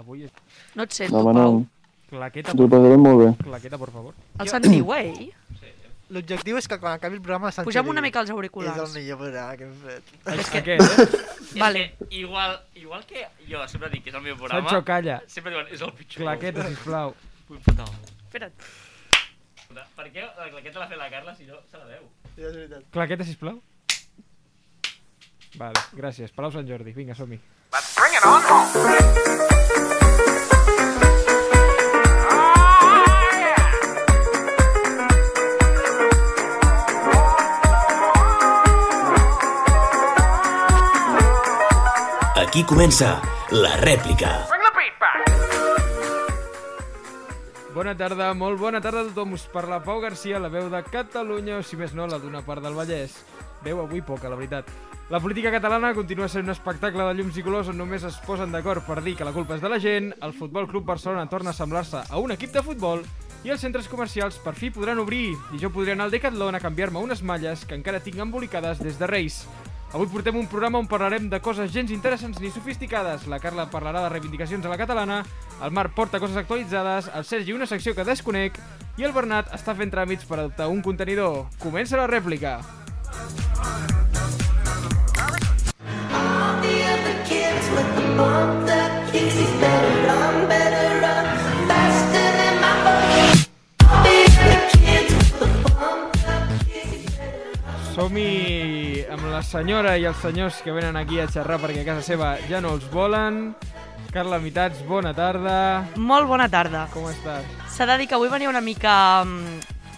Avui és... No et sento, Pau. Demano, Claqueta, t'ho passaré molt bé. claqueta, por favor. El Sant Way. L'objectiu és que quan acabi el programa sentir... Pugem una mica els És el auriculars. millor programa que hem fet. És que... Aquest, eh? Vale. És que Igual, igual que jo sempre dic que és el meu programa, Sancho, calla. sempre diuen és el pitjor. Claqueta, sisplau. Ui, puta. Espera't. puta. Per què la claqueta l'ha fet la Carla si no se la veu? Sí, és veritat. Claqueta, sisplau. Vale, gràcies. Palau Sant Jordi. Vinga, som-hi. Aquí comença la rèplica. Bona tarda, molt bona tarda a tothom. Us parla Pau Garcia, la veu de Catalunya, o si més no, la d'una part del Vallès. Veu avui poca, la veritat. La política catalana continua sent un espectacle de llums i colors on només es posen d'acord per dir que la culpa és de la gent, el Futbol Club Barcelona torna a semblar-se a un equip de futbol i els centres comercials per fi podran obrir i jo podré anar al Decathlon a canviar-me unes malles que encara tinc embolicades des de Reis. Avui portem un programa on parlarem de coses gens interessants ni sofisticades. La Carla parlarà de reivindicacions a la catalana, el Marc porta coses actualitzades, el Sergi una secció que desconec i el Bernat està fent tràmits per adoptar un contenidor. Comença la rèplica! Som-hi amb la senyora i els senyors que venen aquí a xerrar perquè a casa seva ja no els volen. Carla Mitats, bona tarda. Molt bona tarda. Com estàs? S'ha de dir que avui venia una mica um,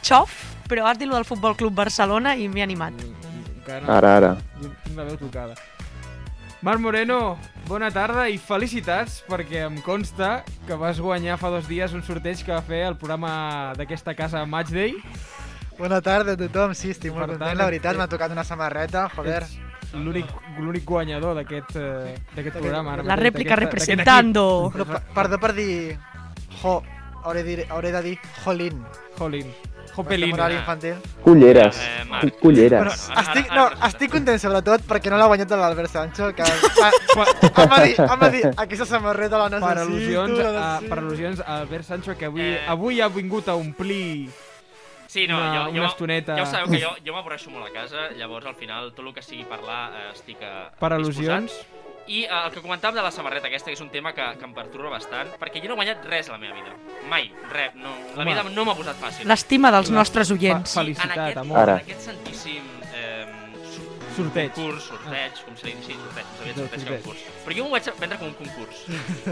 xof, però has dit lo del Futbol Club Barcelona i m'he animat. Encara no. Ara, ara. Jo tinc la veu tocada. Marc Moreno, bona tarda i felicitats perquè em consta que vas guanyar fa dos dies un sorteig que va fer el programa d'aquesta casa Matchday. Bona tarda a tothom, sí, estic molt Per content, tant, la veritat, eh, m'ha tocat una samarreta, joder. Ets l'únic l'únic guanyador d'aquest eh, d'aquest programa. ara La mateix, rèplica d'aquesta- d'aquest equip. representando. No, per- perdó per dir... Jo, hauré, dir, hauré de dir jolín. Jolín. Per Jopelín. temporal infantil. Culleres. Eh, Marc. Bueno, Culleres. estic, no, estic content sobretot perquè no l'ha guanyat l'Albert Sancho, que em Pa- va dir, em va dir, aquesta samarreta la necessito, per al·lusions, la a, necessito. per al·lusions a Albert Sancho, que avui, Eh. avui ha vingut a omplir... Sí, no, Una- jo, jo, una estoneta. Ja ho sabeu que jo, jo m'avorreixo molt a casa, llavors al final tot el que sigui parlar eh, estic eh, Per disposat. al·lusions. I eh, el que comentàvem de la samarreta aquesta, que és un tema que, que em perturba bastant, perquè jo no he guanyat res a la meva vida. Mai, res. No, la Home. vida no m'ha posat fàcil. L'estima dels nostres Fa- oients. fa- felicitat, en aquest, amor. Ara. En aquest santíssim eh, sur- Sorteig. concurs, sorteig, com se li diu, sí, sorteig, no sabia Sorteig, sorteig que sorteig. concurs. Però jo m'ho vaig vendre com un concurs,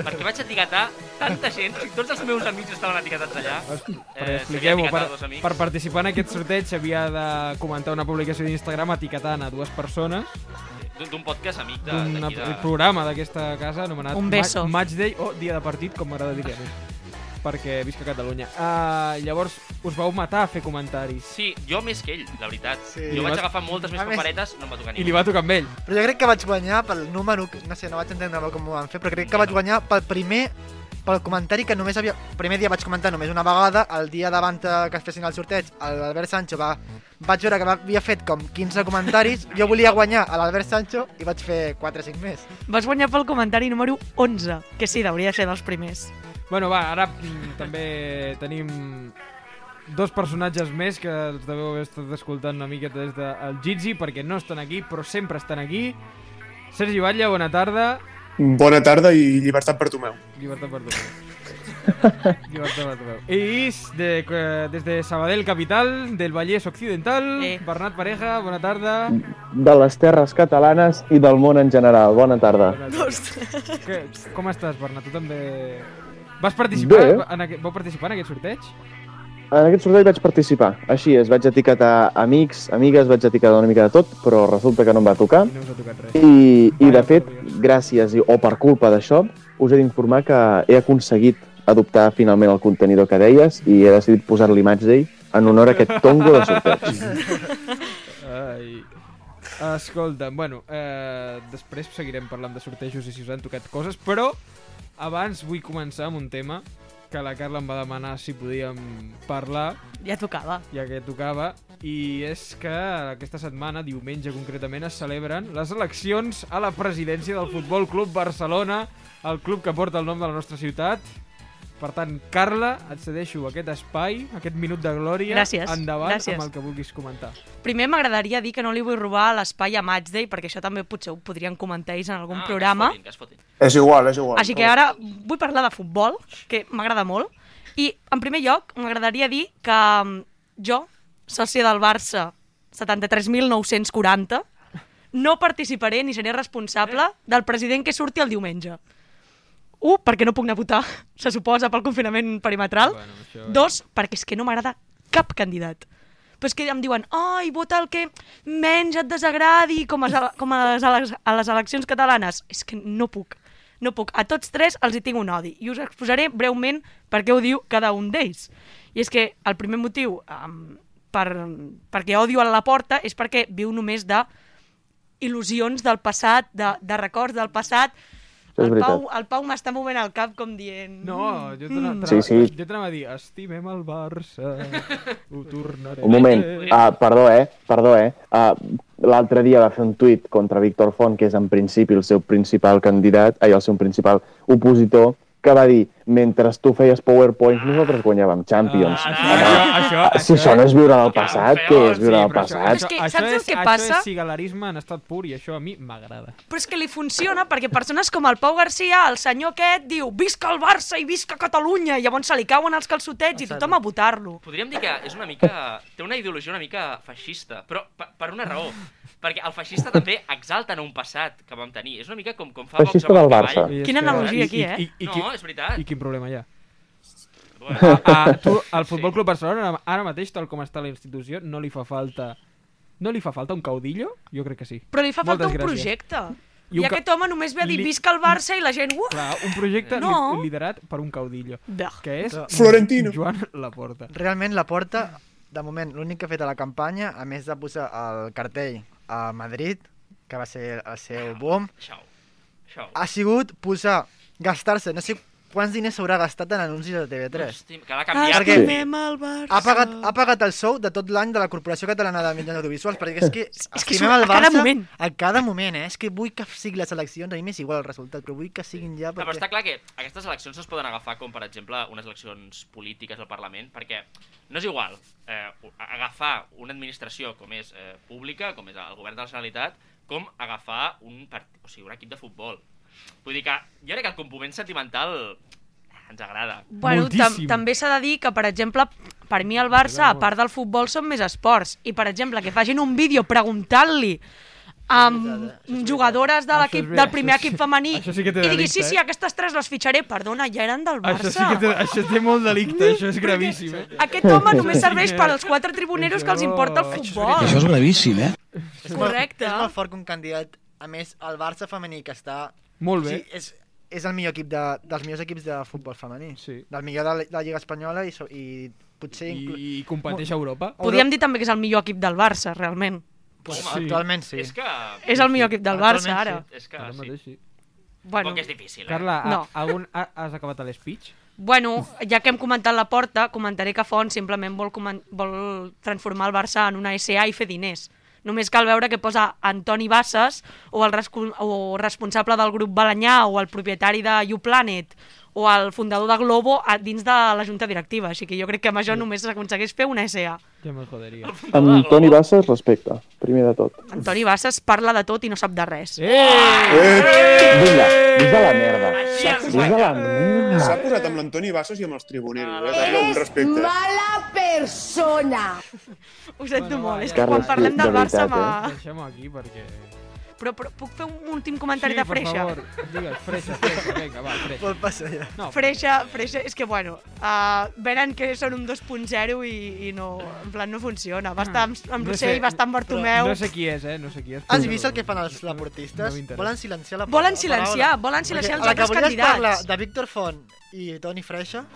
perquè vaig etiquetar tanta gent, o sigui, tots els meus amics estaven etiquetats allà. Per s'havia expliqueu per, etiquetat Eh, dos amics. per participar en aquest sorteig s'havia de comentar una publicació d'Instagram etiquetant a dues persones D'un- eh, D'un podcast amic de... d'un d'aquí de... programa d'aquesta casa anomenat Un beso. Ma- Matchday o Dia de Partit, com m'agrada dir a mi, perquè visc a Catalunya. Uh, llavors, us vau matar a fer comentaris Sí, jo més que ell, la veritat. Sí. Jo vaig Li vas- agafar moltes més A més- paperetes, no em va tocar i ningú. li va tocar amb ell. Però jo crec que vaig guanyar pel número, no sé, no vaig entendre molt com ho van fer, però crec que vaig guanyar pel primer pel comentari que només havia... El primer dia vaig comentar només una vegada, el dia davant eh, que es fessin el sorteig, l'Albert Sancho va... Vaig veure que va- havia fet com 15 comentaris, jo volia guanyar a l'Albert Sancho i vaig fer 4 o 5 més. Vas guanyar pel comentari número 11, que sí, hauria de ser dels primers. Bueno, va, ara mm, també tenim dos personatges més que els deveu haver estat escoltant una miqueta des del Gigi, perquè no estan aquí, però sempre estan aquí. Sergi Batlle, bona tarda. Bona tarda i llibertat per Tomeu. Llibertat per Tomeu. Llibertat per Tomeu. I de, eh, des de Sabadell Capital, del Vallès Occidental, Eh. Bernat Pareja, bona tarda. De les terres catalanes i del món en general. Bona tarda. Bona tarda. Que, com estàs, Bernat? Tu també... Vas participar, Bé. en aquest, vau participar en aquest sorteig? En aquest sorteig vaig participar. Així és, vaig etiquetar amics, amigues, vaig etiquetar una mica de tot, però resulta que no em va tocar. I no us ha tocat res. I, i de fet, gràcies i- o per culpa d'això, us he d'informar que he aconseguit adoptar finalment el contenidor que deies i he decidit posar-li Matchday en honor a aquest tongo de sorteig. Ai. Escolta, bueno, eh, després seguirem parlant de sortejos i si us han tocat coses, però abans vull començar amb un tema que la Carla em va demanar si podíem parlar, Ja tocava. ja que tocava, i és que aquesta setmana, diumenge concretament, es celebren les eleccions a la presidència del Futbol Club Barcelona, el club que porta el nom de la nostra ciutat. Per tant, Carla, et cedeixo aquest espai, aquest minut de glòria. Gràcies, Endavant gràcies. amb el que vulguis comentar. Primer m'agradaria dir que no li vull robar l'espai a Matchday, perquè això també potser ho podrien comentar ells en algun Ah, programa. Que es fotin, que es fotin. És igual, és igual. Així que ara vull parlar de futbol, que m'agrada molt. I, en primer lloc, m'agradaria dir que mm, jo, sòcia del Barça 73.940, no participaré ni seré responsable del president que surti el diumenge. Un, perquè no puc anar a votar, se suposa, pel confinament perimetral. Bueno, això eh. és- Dos, perquè és que no m'agrada cap candidat. Però és que em diuen, ai, vota el que menys et desagradi, com, a, les- com a, les, ele- a les eleccions catalanes. És que no puc, no puc. A tots tres els hi tinc un odi i us exposaré breument per què ho diu cada un d'ells. I és que el primer motiu um, per, perquè odio a la porta és perquè viu només de il·lusions del passat, de, de records del passat. Això és El Pau, veritat. el Pau m'està movent el cap com dient... No, jo t'anava mm. Sí, sí. jo t'anava a dir, estimem el Barça, ho tornarem. Un moment, ah, perdó, eh? Perdó, eh? Ah, L'altre dia va fer un tuit contra Víctor Font, que és en principi el seu principal candidat, ai, el seu principal opositor, que va dir, mentre tu feies PowerPoint, nosaltres guanyàvem Champions. Ah, Home, això, això, si això no és viure en el passat, però- què és viure en Sí, el però això- passat? És que això- saps això el és- que Això passa? és sigalarisme en estat pur i això a mi m'agrada. Però és que li funciona perquè persones com el Pau Garcia, el senyor aquest, diu visca el Barça i visca Catalunya, i llavors se li cauen els calçotets i tothom a votar-lo. Podríem dir que és una mica... Té una ideologia una mica feixista, però per, per una raó. Perquè el feixista també exalta en un passat que vam tenir. És una mica com, com fa Vox Feixista amb el del cavall. Barça. I és Quina que- analogia i- aquí, i- eh? I, i, No, qui- és veritat. I quin problema hi ha? Bueno, Ah, tu, el Futbol Sí. Club Barcelona, ara- ara mateix, tal com està la institució, no li fa falta... No li fa falta un caudillo? Jo crec que sí. Però li fa falta Moltes un gràcies. projecte. I, I un ca- aquest home només ve a dir li- visca el Barça i la gent... Uh! Clar, un projecte li- No. liderat per un caudillo, Bah. que és Florentino. Joan Laporta. Realment, la porta, de moment, l'únic que ha fet a la campanya, a més de posar el cartell a Madrid, que va ser el seu boom, Xau. Xau. ha sigut posar, gastar-se, no sé quants diners s'haurà gastat en anuncis de TV3. Hòstia, Ah, que l'ha canviat. perquè- Estimem el Barça. Ha pagat, ha pagat el sou de tot l'any de la Corporació Catalana de Mitjans Audiovisuals, perquè és que és que surt a cada moment. a cada moment, eh? És que vull que siguin les eleccions, a mi m'és igual el resultat, però vull que siguin ja... No, però està Perquè... clar que aquestes eleccions es poden agafar com, per exemple, unes eleccions polítiques al Parlament, perquè no és igual eh, agafar una administració com és eh, pública, com és el govern de la Generalitat, com agafar un, part... o sigui, un equip de futbol. Vull dir que jo crec que el component sentimental ens agrada. Bueno, tam Moltíssim. també s'ha de dir que, per exemple, per mi el Barça, a part del futbol, són més esports. I, per exemple, que facin un vídeo preguntant-li amb jugadores de Això és l'equip veritat. del primer Això sí- equip femení això sí que té i digui, delicte, sí, sí, eh?" aquestes tres les fitxaré, perdona, ja eren del Barça. Això sí que té, això té molt delicte, això és gravíssim, eh? Aquest home només Això sí serveix que- per als quatre tribuneros que els importa el Això és futbol. Això és gravíssim, eh? És molt- Correcte. És molt fort que un candidat, a més, el Barça femení, que està... Molt bé. Sí, és, és el millor equip de, dels millors equips de futbol femení. Sí. Del millor de la, de la Lliga Espanyola i, so- i potser... inclús- I, i competeix a Europa. Podríem dir també que és el millor equip del Barça, realment. Pues, Sí. Actualment sí. És que... És el millor equip del Barça, Actualment, ara. És que Ara sí. mateix, sí. Bueno, Poc és difícil, eh? Carla, a, No. algun, ha, has acabat l'speech? bueno, ja que hem comentat la porta, comentaré que Font simplement vol, comen- vol transformar el Barça en una SA i fer diners. Només cal veure que posa Antoni Bassas o el rescu- o responsable del grup Balanyà o el propietari de YouPlanet o el fundador de Globo a dins de la junta directiva. Així que jo crec que amb això només s'aconsegueix fer una SA. Ja me'l joderia. Amb Toni Bassas, respecte, primer de tot. Antoni Bassas parla de tot i no sap de res. Eh! Vinga, vés a la merda. Així ens Vés a la merda. S'ha posat amb l'Antoni Bassas i amb els tribuneros, eh? Carla, un respecte. mala persona. Ho sento Bueno, molt, va, és ja que quan està. parlem del De Barça veritat, eh? m'ha... Deixem-ho aquí perquè... Però, però puc fer un últim comentari de per Freixa? favor, digues, freixa, freixa, vinga, va, freixa. Pot passar ja. No, Freixa, Freixa, és que bueno, uh, venen que són un 2.0 i, i no, en plan no funciona. Va estar amb, amb No Rossell, sé, va estar amb Bartomeu... No sé qui és, eh? No sé qui és. Has però- vist el que fan els laportistes? m'interessa. volen silenciar la Volen la silenciar, paraula. volen silenciar els Perquè altres La que volies parlar candidats. de Víctor Font i Toni Freixa...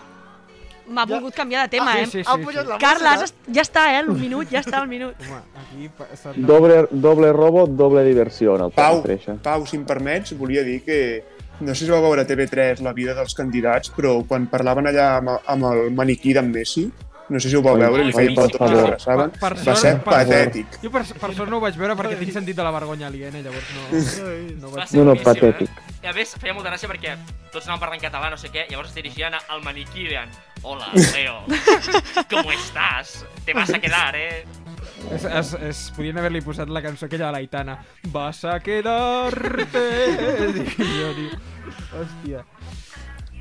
M'ha volgut canviar de tema, Ah, eh? sí, sí, ha sí, pujat sí. la Carla, has música. est- ja està, eh? El minut, ja està el minut. Home, aquí pa- s'ha de... Doble, doble robo, doble diversió en el eh? Pau Pau, Freixa. Pau, si em permets, volia dir que No sé si va veure a TV3 la vida dels candidats, però quan parlaven allà amb, amb el maniquí d'en Messi, no sé si ho vau Oi, veure, oi, li feien per fotos que favor. l'abraçaven. Per- per Va sort, ser per favor. patètic. Jo per, per sort no ho vaig veure perquè tinc sentit de la vergonya aliena, llavors no, no ho Va vaig ser No, no, boníssim, patètic. Eh? I a més, feia molta gràcia perquè tots anaven parlant català, no sé què, llavors es dirigien al maniquí i deien Hola, Leo, ¿cómo estás? Te vas a quedar, eh? es, es, es, podien haver-li posat la cançó aquella de l'Aitana. Vas a quedar-te... Dic jo, dic, Hòstia.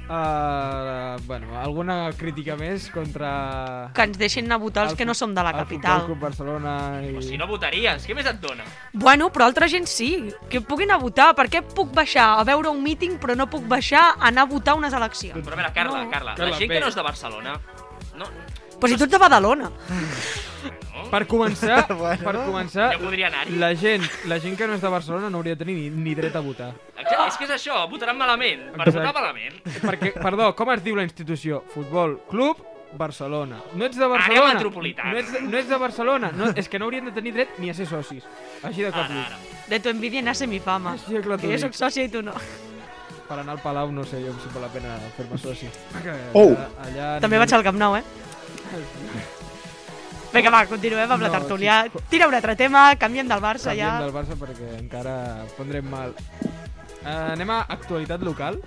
Uh, bueno, alguna crítica més contra... Que ens deixin anar a votar els el que no fu- som de la el Futbol capital. Club Barcelona i... O si no votaries, què més et dona? Bueno, però altra gent sí, que puguin anar a votar. Per què puc baixar a veure un míting però no puc baixar a anar a votar unes eleccions? Però a veure, Carla, No. Carla, Carla, la gent bé. que no és de Barcelona... No, Però si tu ets de Badalona. no? Per començar, Bueno. per començar, Jo podria anar-hi. la gent, la gent que no és de Barcelona no hauria de tenir ni, ni dret a votar. Exacte, és que és això, votaran malament. Per Exacte. votar malament. Perquè, perdó, com es diu la institució? Futbol Club Barcelona. No ets de Barcelona. Àrea metropolitana. No ets, de, no ets de Barcelona. No, és que no haurien de tenir dret ni a ser socis. Així de clar. Ara, ara. De tu envidia nace mi fama. Sí, clar, t'ho que jo dic. sóc sòcia i tu no. Per anar al Palau no sé jo si val la pena fer-me soci. Oh! eh, Allà, També vaig al Camp Nou, eh? Vinga, va, continuem amb la No, tertúlia. Tira un altre tema, canviem del Barça Canviem ja. del Barça perquè encara pondrem mal. Eh, anem a actualitat local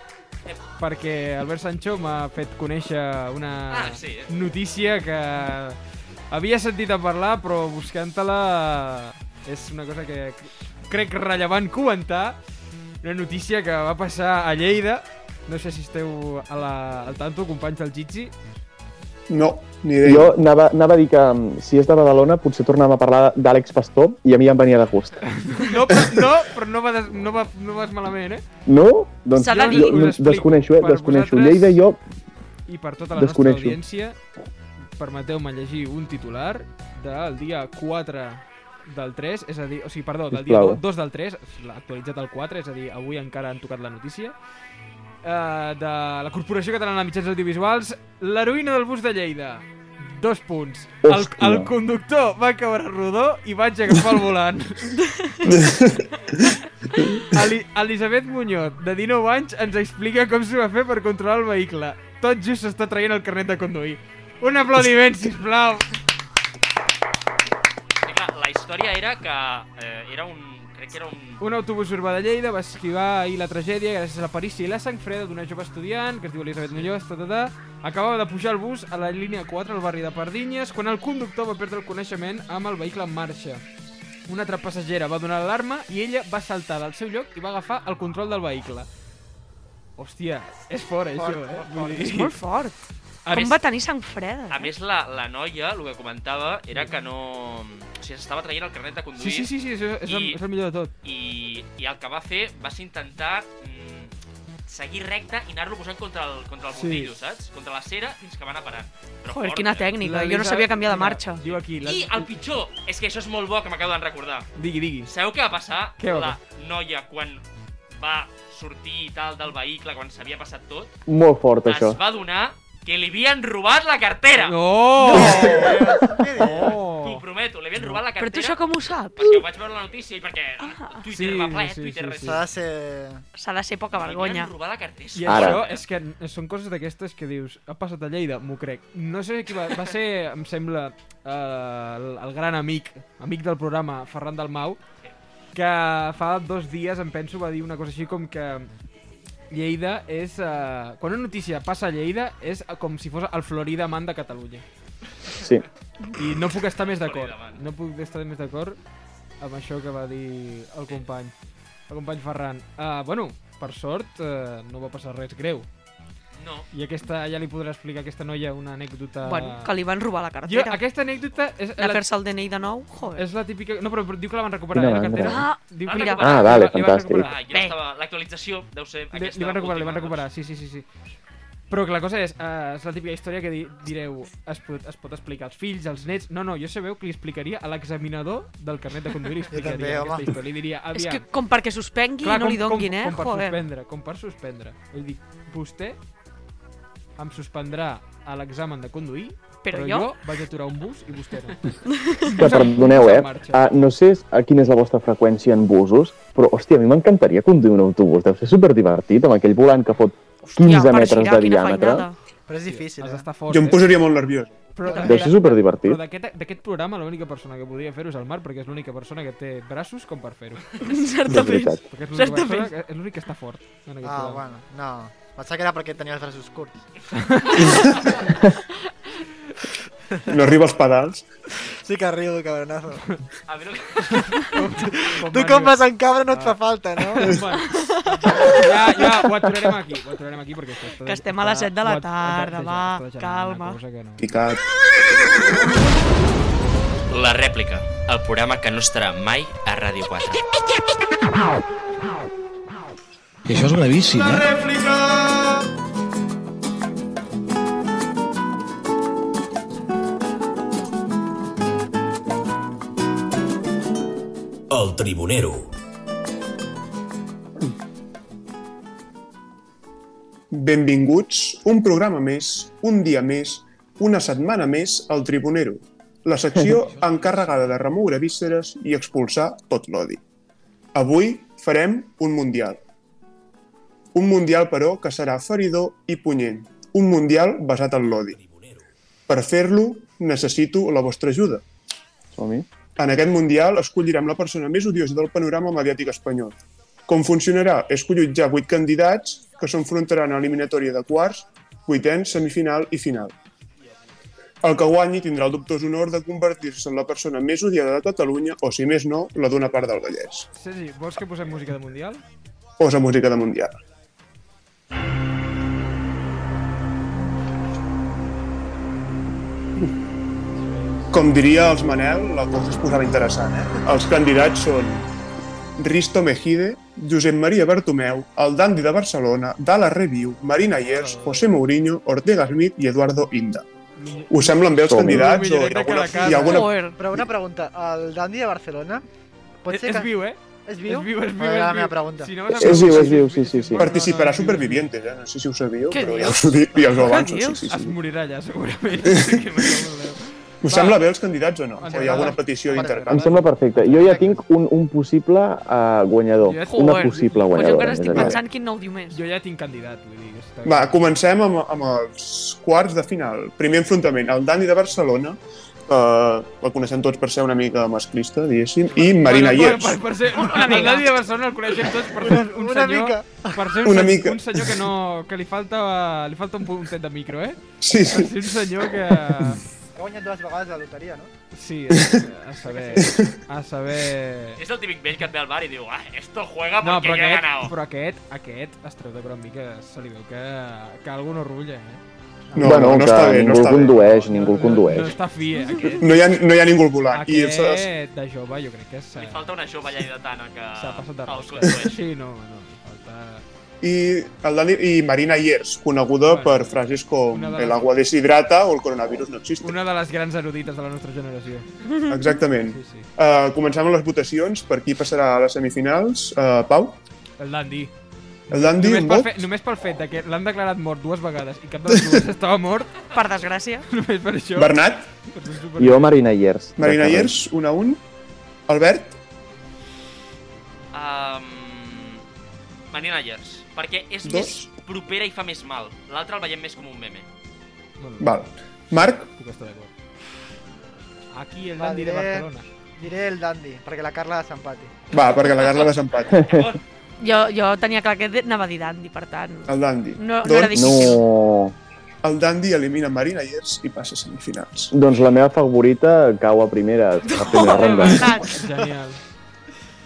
perquè Albert Sancho m'ha fet conèixer una Ah, sí, eh? notícia que havia sentit a parlar però buscant-la és una cosa que crec rellevant comentar una notícia que va passar a Lleida no sé si esteu a la, al tanto, companys del Gitzi No, ni idea. Jo anava, anava a dir que mm, si és de Badalona potser tornàvem a parlar d'Àlex Pastor i a mi ja em venia de gust. no, però, no, però no, va des, no, va, no vas malament, eh? No? Doncs S'ha de dir. jo, no, Us explico. desconeixo, eh? Per Desconeixo. vosaltres- Lleida jo... I per tota la nostra Desconeixo. audiència, permeteu-me llegir un titular del dia 4 del 3, és a dir, o sigui, perdó, del dia Sisplau. 2 del 3, l'ha actualitzat al 4, és a dir, avui encara han tocat la notícia, eh, de la Corporació Catalana de Mitjans Audiovisuals, l'heroïna del bus de Lleida. Dos punts. El, Hòstia. el conductor va caure rodó i vaig agafar el volant. Eli Elisabet Muñoz, de 19 anys, ens explica com s'ho va fer per controlar el vehicle. Tot just s'està traient el carnet de conduir. Un aplaudiment, sisplau! Sí, clar, la història era que eh, era un... Crec que era un... Un autobús urbà de Lleida va esquivar ahir la tragèdia gràcies a la perícia i la sang freda d'una jove estudiant que es diu Elisabet Muñoz, ta, ta, ta. Acabava de pujar el bus a la línia 4 al barri de Pardinyes quan el conductor va perdre el coneixement amb el vehicle en marxa. Una altra passagera va donar l'alarma i ella va saltar del seu lloc i va agafar el control del vehicle. Hòstia, és fort, això, eh? Vull dir- És molt fort. A Com més- va tenir sang freda? A més, la, la noia, el que comentava, era que no... O sigui, s'estava traient el carnet de Sí, conduir sí, sí, sí és, és, el, I- és el millor de tot. I, i el que va fer va ser intentar mm, seguir recte i anar-lo posant contra el, contra el Sí. bordillo, saps? Contra la cera fins que va anar parant. Però Joder, fort, quina eh? tècnica. Jo no Lisa- sabia canviar de mira, marxa. Diu aquí... La... I el pitjor, és que això és molt bo que m'acabo de recordar. Digui, digui. Sabeu què va passar? Què va la noia quan va sortir i tal del vehicle, quan s'havia passat tot, Molt fort, això. es va donar que li havien robat la cartera. No! T'ho No! prometo, li havien robat la Però cartera. tu això com ho saps? Ah. Perquè ho vaig veure a la notícia i perquè Twitter Sí, va ple, sí, Twitter sí, res. sí. S'ha de ser... S'ha de ser poca Li havien vergonya. robat la cartera. I Ara. això és que n- són coses d'aquestes que dius, ha passat a Lleida, m'ho crec. No sé qui va, va ser, em sembla, eh, el, el gran amic, amic del programa, Ferran Dalmau, que fa dos dies, em penso, va dir una cosa així com que Lleida és... Eh, quan una notícia passa a Lleida és com si fos el Florida Man de Catalunya. Sí. I no puc estar més d'acord. Florida Man. No puc estar més d'acord amb això que va dir el company. El company Ferran. Uh, bueno, per sort uh, no va passar res greu. No. I aquesta, ja li podrà explicar a aquesta noia una anècdota... Ah. Bueno, que li van robar la Jo, ah, cartera. aquesta anècdota és De la, fer-se el DNI de nou? Joder. és la típica... No, però diu que la van recuperar, Quina eh, la mandra. cartera. Ah, diu mira. la van Ah, vale, recuperar, li van fantàstic. recuperar. Ah, jo Bé. estava... L'actualització deu ser Li, aquesta. li van recuperar, li van última, recuperar, sí, sí, sí, sí. Però que la cosa és, eh, és la típica història que di, direu, es pot, es pot explicar als fills, als nets... No, no, jo sabeu que li explicaria a l'examinador del carnet de conduir, li explicaria també, home. aquesta història, li diria, És aviam... que com perquè suspengui i no li donguin, eh? com, Com per Joder. suspendre, com per suspendre. Vull dir, vostè em suspendrà a l'examen de conduir Però, Però jo... jo vaig aturar un bus i vostè no. Que perdoneu, eh? Marxa. Uh, no sé a quina és la vostra freqüència en busos, però, hòstia, a mi m'encantaria conduir un autobús. Deu ser superdivertit, amb aquell volant que fot 15 per metres girar, de quina diàmetre. feinada. Però és difícil, Has eh? d'estar fort, Jo em eh? posaria molt nerviós. Però, Deu ser superdivertit. però d'aquest d'aquest programa l'única persona que podria fer-ho és el Marc, perquè és l'única persona que té braços com per fer-ho. De Certament. veritat. Perquè és l'única Certament. persona que, és l'únic que està fort en aquest Ah, programa. bueno, no. Pensava que era perquè tenia els braços curts. No arriba als pedals. Sí que riu, cabronazo. A mi el que... Tu com vas en cabra no et fa falta, no? Ah. Bueno, ja, ja, ho aturarem aquí, ho aturarem aquí perquè està, Que estem a les set de la tarda, va, calma. No. Picat. La rèplica, el programa que no estarà mai a Ràdio 4. I això és gravíssim, eh? El Tribunero. Benvinguts, un programa més, un dia més, una setmana més al Tribunero, la secció encarregada de remoure vísceres i expulsar tot l'odi. Avui farem un mundial. Un mundial, però, que serà feridor i punyent. Un mundial basat en l'odi. Per fer-lo, necessito la vostra ajuda. Som-hi. En aquest Mundial escollirem la persona més odiosa del panorama mediàtic espanyol. Com funcionarà? És que jutjar vuit candidats que s'enfrontaran a l'eliminatòria de quarts, vuitens, semifinal i final. El que guanyi tindrà el dubtós honor de convertir-se en la persona més odiada de Catalunya o, si més no, la d'una part del Vallès. Sergi, vols que posem música de Mundial? Posa música de Mundial. Com diria els Manel, la cosa es posava interessant, eh? Els candidats són Risto Mejide, Josep Maria Bartomeu, el Dandi de Barcelona, Dala Review, Marina Yers, José Mourinho, Ortega Smith i Eduardo Inda. Us semblen bé els Som-hi. candidats o hi Milloreta ha alguna, que la hi ha alguna Joder. Però una pregunta, el Dandy de Barcelona... Pot És, ser és que... viu, eh? És viu? És viu, és viu. Era és la viu. meva pregunta. Si no vas a És viu, preguntar és si viu, sí, sí, sí. No, no, participarà no, no, Supervivientes, eh? No sé si ho sabíeu, Què però dius? ja us ho dic i ja us ho avanço. Què Sí, dius? sí, Es sí. morirà allà, segurament. Sí, que m'ho Us Va. sembla bé els candidats o no? Ens O hi agrada. ha alguna petició Ens Em agrada. d'intercanvi? sembla perfecte. Jo ja tinc un, un possible uh, guanyador. Jo ja tinc- Una Joder. possible Pues jo encara guanyadora. estic més aviat. pensant quin nou diu més. jo ja tinc candidat, vull dir. Està... Va, comencem amb, amb els quarts de final. Primer enfrontament, el Dani de Barcelona, eh, el coneixem tots per ser una mica masclista, diguéssim, i Marina bueno, Iers. Per, per, per ser, una mica. de Barcelona el coneixem tots per ser un Una senyor... mica. Per ser un, Una senyor, mica. un senyor que, no, que li, falta, li falta un puntet de micro, eh? Sí, Per sí. ser un senyor que... Ah. Ha guanyat dues vegades la loteria, no? Sí, a, a saber... A saber... És el típic vell que et ve al bar i diu ah, esto juega No, porque yo però he aquest, ganado. però aquest, aquest es treu de però a mi que se li veu que, que algú no rutlla, eh? No, bueno, no, no que està bé, no ningú el està bé. condueix, ningú el No, no condueix. està fi, eh, aquest. No hi ha, no hi ha ningú al volant. I els, Aquest de jove jo crec que s'ha Li falta una jove lleidatana que s'ha passat de el rosca. condueix. Sí, no, no, li falta... i, el Dani, i Marina Iers, coneguda Bueno, per frases com una de les- el agua deshidrata o el coronavirus no existe. Una de les grans erudites de la nostra generació. Exactament. Sí, sí. Uh, comencem amb les votacions, per qui passarà a les semifinals. Uh, Pau, El Dandy. el Dandi, Només un pel, vot? fe, només pel fet de que l'han declarat mort dues vegades i cap de les dues estava mort, Per desgràcia. només per això... Bernat, Doncs és super- Jo, Marina Iers. de Marina carrer. Iers, un a un. Albert, Um, Marina Yers, perquè és Dos. més propera i fa més mal. L'altre el veiem més com un meme. Bueno, val. Marc, Puc estar d'acord. Aquí el Vale. Dandy de Barcelona. Diré el Dandy, perquè la Carla s'empati. va, perquè la Carla desempata. Jo, jo tenia clar que anava a dir Dandy, per tant. El Dandi. No- no era doncs, difícil. No, el Dandi elimina Marina Iers i passa a semifinals. doncs la meva favorita cau a primera, a primera Oh, ronda. Bernat. Genial.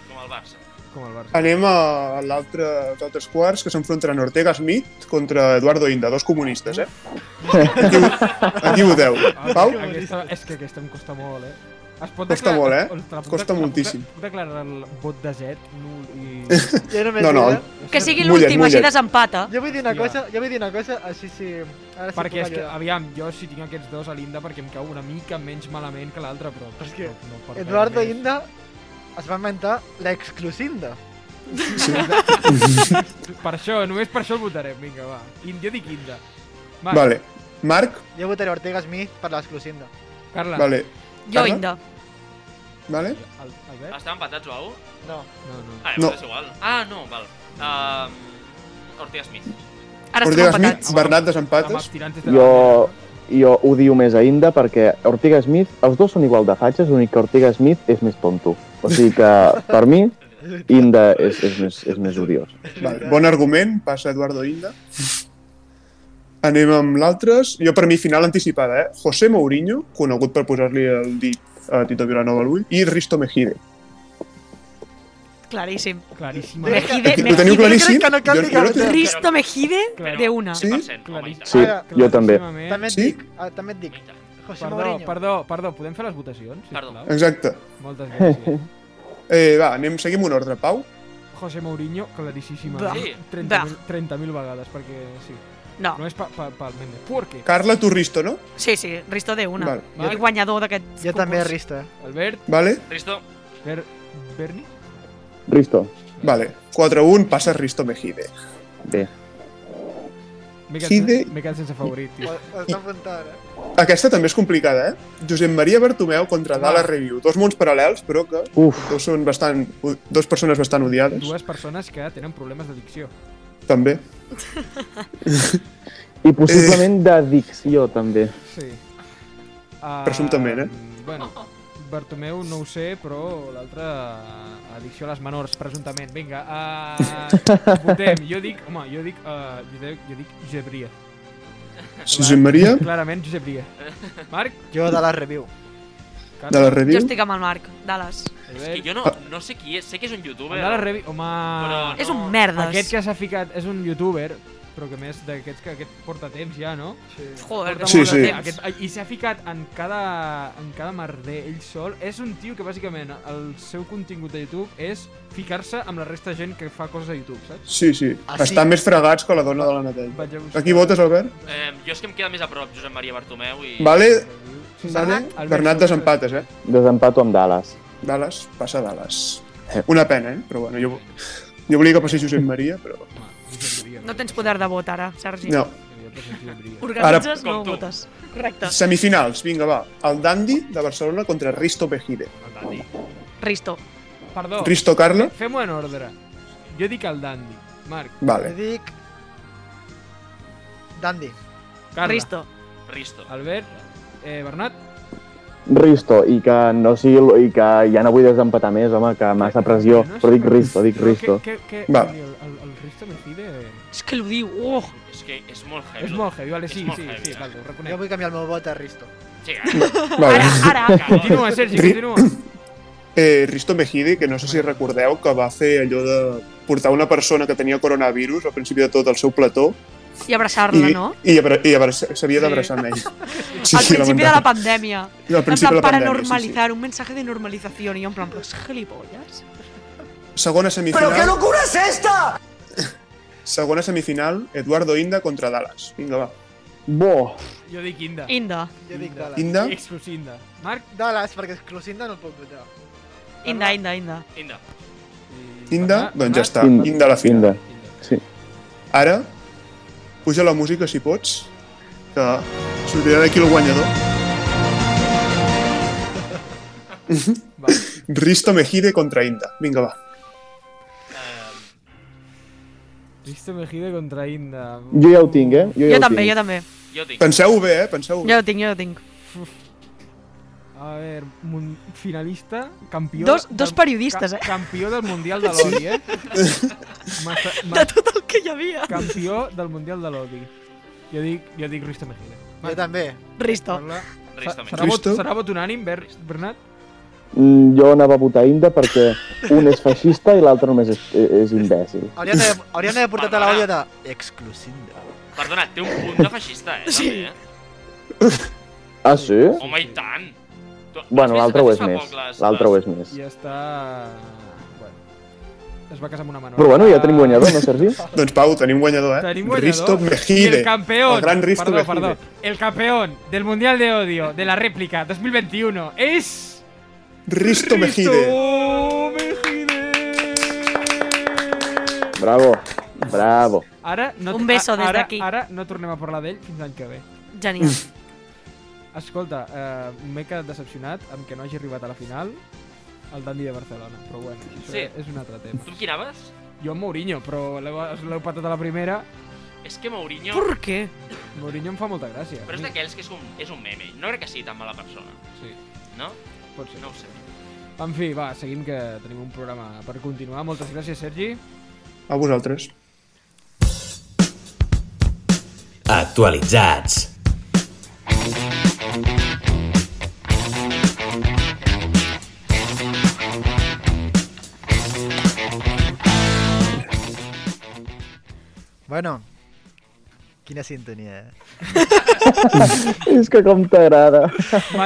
Com el Barça. Com el Barça. Anem a l'altre als altres quarts, que s'enfrontaran Ortega Smith contra Eduardo Inda, dos comunistes, eh? Aquí, aquí voteu. Ah, Pau? Aquesta, és que aquesta em costa molt, eh? Es pot Costa declarar- molt, eh? Ostres, puc Costa declarar- moltíssim. Puc declarar el vot de Zet nul i... Jo només No, no, diré- Que sigui Mullet, l'últim, així mullet. desempata. Jo vull dir una Hòstia. cosa, jo vull dir una cosa, així sí... Ara sí perquè puc és que, ah, ajudar. aviam, jo si tinc aquests dos a l'Inda perquè em cau una mica menys malament que l'altre, però... Però és que no- no per Eduardo res més. Inda es va inventar l'exclusinda. Per això, només per això el votarem, vinga, va. India dic Inda. Marc, Vale. Marc? Jo votaré Ortega Smith per l'exclusinda. Carla. Vale. Jo, Carla? Inda. Vale. Al, Albert? Estàvem empatats o algo? No. No, no. Ah, No. no. és igual. Ah, no, val. Um, Ortega Smith. Ara estem Ortega Smith, empatats. Bernat Amb els desempates. tirantes de la Jo, jo odio més a Inda perquè Ortega Smith, els dos són igual de fatxes, l'únic que Ortega Smith és més tonto. O sigui que, per mi, Inda és, és, més, és més odiós. Vale. Bon argument, passa Eduardo Inda. Anem amb l'altres. Jo, per mi, final anticipada, eh? José Mourinho, conegut per posar-li el dit a Tito Vilanova a l'ull, i Risto Mejide. Claríssim. Claríssima. Mejide, Ho teniu Mejide, claríssim? crec que no cal Jo- dir jo no res. tinc- Risto Mejide, Claro. de una. Sí? 100%, home, i Claríssim. tant. Sí, Ara, jo també. claríssimament. També et Sí? dic, ah, també et dic, I tant. José Perdó, Mourinho. perdó, perdó, podem fer les votacions? Perdó. Sisplau? Exacte. Moltes gràcies. Eh, va, anem, seguim un ordre, Pau. José Mourinho, claríssima. Bah. Sí. 30.000 30.000 vegades, perquè sí. No, No és pa, pa, pel Mende. Porque, Carla, tu Risto, no? sí, sí, Risto de una. Vale. El guanyador d'aquest concurs. Jo també, Risto. eh. Albert, Vale? Risto, Ber, Berni? Risto, Vale. 4-1, passa Risto Mejide. bé. M'he quedat, Gide- m'he quedat sense favorit, Ho, tio. ho està apuntant, eh? Aquesta també és complicada, eh? Josep Maria Bartomeu contra Dala Review. Dos mons paral·lels, però que Uf, dos són bastant... Dos persones bastant odiades, Dues persones que tenen problemes d'addicció. també. i possiblement d'addicció, també. Sí. Uh, Presumptament, eh? Bueno, Bartomeu no ho sé, però l'altre... eh, Addicció a les menors, presumptament. Vinga, uh, votem. Jo dic, home, jo dic, uh, jo dic, jo dic Josep Ria. Josep Maria, Clarament Josep Ria. Marc, Jo de la review. de la Jo Review. estic amb el Marc, Dallas. és que Albert... jo no, no sé qui és, sé que és un youtuber. Anar a la revi... Home... Però- És un No, merdes. Aquest que s'ha ficat és un youtuber, però que a més d'aquests que aquest porta temps ja, no? Joder, que Sí, molt de sí. temps. Aquest, I s'ha ficat en cada, en cada merder ell sol. És un tio que bàsicament el seu contingut de YouTube és ficar-se amb la resta de gent que fa coses a YouTube, saps? Sí, sí. Ah, sí? Estan més fregats que la dona de la Natàlia. Vaig a buscar... Aquí votes, Albert? Eh, jo és que em queda més a prop Josep Maria Bartomeu i... Vale, Sí, vale. Albert, Bernat desempates, eh? Desempato amb Dallas. Dallas, passa Dallas. Una pena, eh? Però bueno, jo, jo volia que passés Josep Maria, però... No tens poder de vot ara, Sergi. No. Organitzes, Ara- no Com tu. votes. Correcte. Semifinals, vinga, va. El Dandy de Barcelona contra Risto Pejide. Risto. Perdó, Risto Carla? fem-ho en ordre. Jo dic el Dandy. Marc, Jo Vale. dic... Dandy. Carla, Risto. Risto. Albert, eh, Bernat, Risto, i que no sigui... l- i que ja no vull desempatar més, home, que massa pressió. Però dic Risto, dic Risto. Què, què, Va. El, el, el Risto Mejide És que ho diu. Oh, És que és molt heavy. és molt heavy, vale, És sí, molt sí, heavy, sí, eh? vale, ho Jo reconec. vull canviar el meu vot a Risto. Sí, ah. Vale. ara, ara. Continua. Continua, Sergi, Ri- continua. Eh, Risto Mejide, que no sé si recordeu que va fer allò de portar una persona que tenia coronavirus al principi de tot al seu plató I abraçar-la, i, no? i, abra- i abra- s'havia d'abraçar amb ell. Sí, Al principi de la lamentable. pandèmia. Al En principi de plan, la para pandèmia, sí, normalizar, un mensaje de normalización. I jo en plan, però és gilipolles? sí. Segona semifinal, locura eh? es esta? segona semifinal, Eduardo Inda contra Dallas. Vinga, va. Bo! Jo dic Inda. Inda. Jo dic Dallas. Inda, Exclusinda. Marc, Dallas, perquè exclusinda no el puc votar. Inda, Inda, Inda. Inda. Inda, doncs ja està. Inda. Inda a la final. Inda. Sí. Ara, puja la música si pots, que sortirà d'aquí el guanyador. Vale. Risto Mejide contra Inda. Vinga, va. Risto Mejide contra Inda. Jo ja ho tinc, eh? Jo ho també, jo tinc. també. Jo tinc. Penseu-ho bé, eh? Penseu-ho Jo bé. ho tinc, jo ho tinc. A veure, mun- finalista, campió... Dos- del- dos periodistes, ca- eh? Campió del Mundial de l'Odi, eh? Massa- ma- De tot el que hi havia. Campió del Mundial de l'Odi. Jo dic, jo dic Risto Mejide. Jo també. Risto. Parla. Risto Serà vot, Risto. serà vot unànim, Ber- Bernat? Mm, jo anava a votar Inda perquè un és feixista i l'altre només és, és imbècil. Hauríem d'haver hauríem d'haver portat a l'àudio de... Exclusinda. Perdona, té un punt de feixista, eh? Sí. També, eh? Ah, sí? Home, i tant! Tu- has Bueno, vist- l'altre has ho vist és fa més. poc les- L'altre ho les- és més. I està... Bueno, es va casar amb una menor. Però bueno, ja tenim Ah, guanyador, no, Sergi? Doncs Pau, tenim guanyador, eh? Tenim guanyador. Risto Y Mejide. el campeón, El gran Risto perdó, Mejide. perdó, el campeón del Mundial de Odio de la réplica 2021 es... Risto Mejide. Risto Mejide. Bravo, bravo. Ara no, Un beso a- des ara- d'aquí. Ara no tornem a parlar d'ell fins l'any que ve. Genial. Escolta, eh, m'he quedat decepcionat amb que no hagi arribat a la final el Dandi de Barcelona, però bueno, això Sí. és un altre tema. Tu amb qui anaves? Jo amb Mourinho, però l'heu l'heu patat a la primera, És que Mourinho... Per què? Mourinho em fa molta gràcia. Però és A mi- d'aquells que és un, és un meme. No crec que sigui tan mala persona, Sí, no? pot ser. No ho sé. En fi, va, seguim que tenim un programa per continuar. Moltes gràcies, Sergi. A vosaltres. Actualitzats. Bueno, quina sintonia, eh? És que com t'agrada. M'atreviria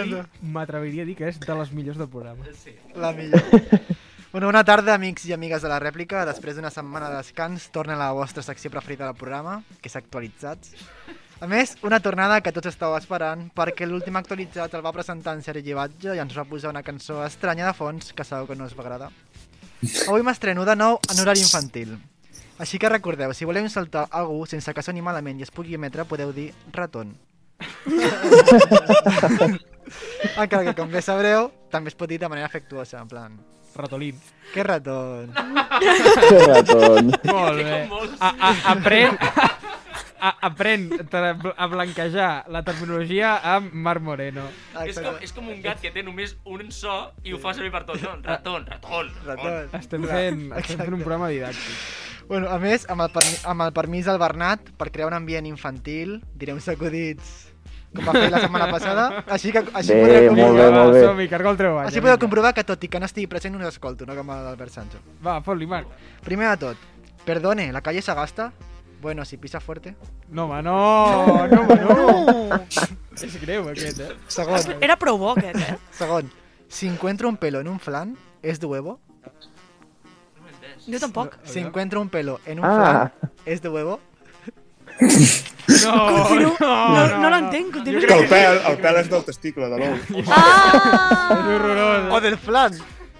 a, dir, M'encanta. m'atreviria a dir que és de les millors del programa. La millor. Bueno, bona tarda, amics i amigues de la rèplica. Després d'una setmana de descans, torna la vostra secció preferida del programa, que és Actualitzats. A més, una tornada que tots estàveu esperant, perquè l'últim actualitzat el va presentar en Sergi Batge i ens va posar una cançó estranya de fons que sabeu que no us va agradar. Avui m'estreno de nou en horari infantil. Així que recordeu, si voleu insultar algú sense que soni malament i es pugui emetre, podeu dir raton. Encara que, com bé sabreu, també es pot dir de manera afectuosa, en plan... Ratolín. Que ratón. Que raton. Molt Té bé. com molts. A, a, apren, a, a, aprèn tra- a blanquejar la terminologia amb Marc Moreno. És com, és com un gat que té només un so i ho fa servir per tot. No? Raton, raton, raton. Estem fent, estem fent un programa didàctic. Bueno, a més, amb el, permi amb el permís del Bernat, per crear un ambient infantil, diré uns acudits com va fer la setmana passada. Així que així, Bé, podreu, Molt comprovar, bé, molt bé. Som-hi, cargol treu balla, així podeu vinga. comprovar que tot i que no estigui present, us escolto, no com a l'Albert Sancho. Va, fot-li, Marc. Primer de tot, perdone, la calle se gasta? Bueno, si pisa fuerte. No, home, no! No, home, no! És greu, aquest, eh? Segon, Era prou bo, aquest, eh? segon, si encuentro un pelo en un flan, és de huevo? Jo tampoc. Si encuentro un pelo en un Ah. flan, és de huevo? No, Continuo. No, no l'entenc, continuo. Que el pèl, el pèl és del testicle de l'ou. És Ah! horrorós. O del flan!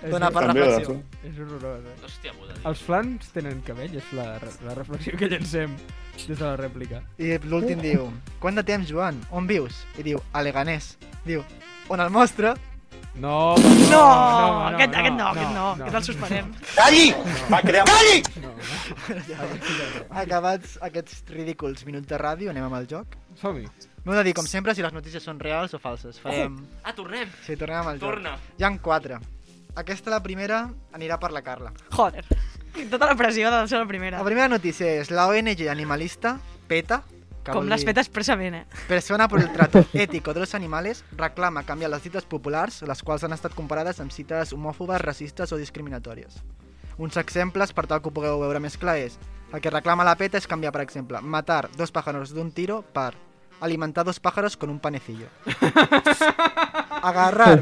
Dona per També de reflexió. l'ou. És horrorós, eh? Hòstia puta. tio. Els flans tenen cabell, és la, la reflexió que llancem des de la rèplica. I l'últim diu, quant de temps, Joan? On vius? I diu, a Leganés. Diu, on el mostre? No, no, no, No, no, no, aquest, aquest no, aquest no, aquest el suspenem. Acabats aquests ridículs minuts de ràdio, anem amb el joc. Som-hi. M'heu de dir, com sempre, si les notícies són reals o falses. Farem... Ah, tornem. Sí, tornem amb el joc. Torna. Hi han quatre. Aquesta, la primera, anirà per la Carla. Joder. Tota la pressió de ser la primera. La primera notícia és la ONG animalista PETA, que Com vol les dir feta expressament, eh? Persona por el trato ético de los animales reclama canviar les cites populars, les quals han estat comparades amb cites homòfobes, racistes o discriminatòries. Uns exemples, per tal que ho pugueu veure més clar, és el que reclama la PETA és canviar, per exemple, matar dos pájaros d'un tiro per alimentar dos pájaros con un panecillo. Agarrar...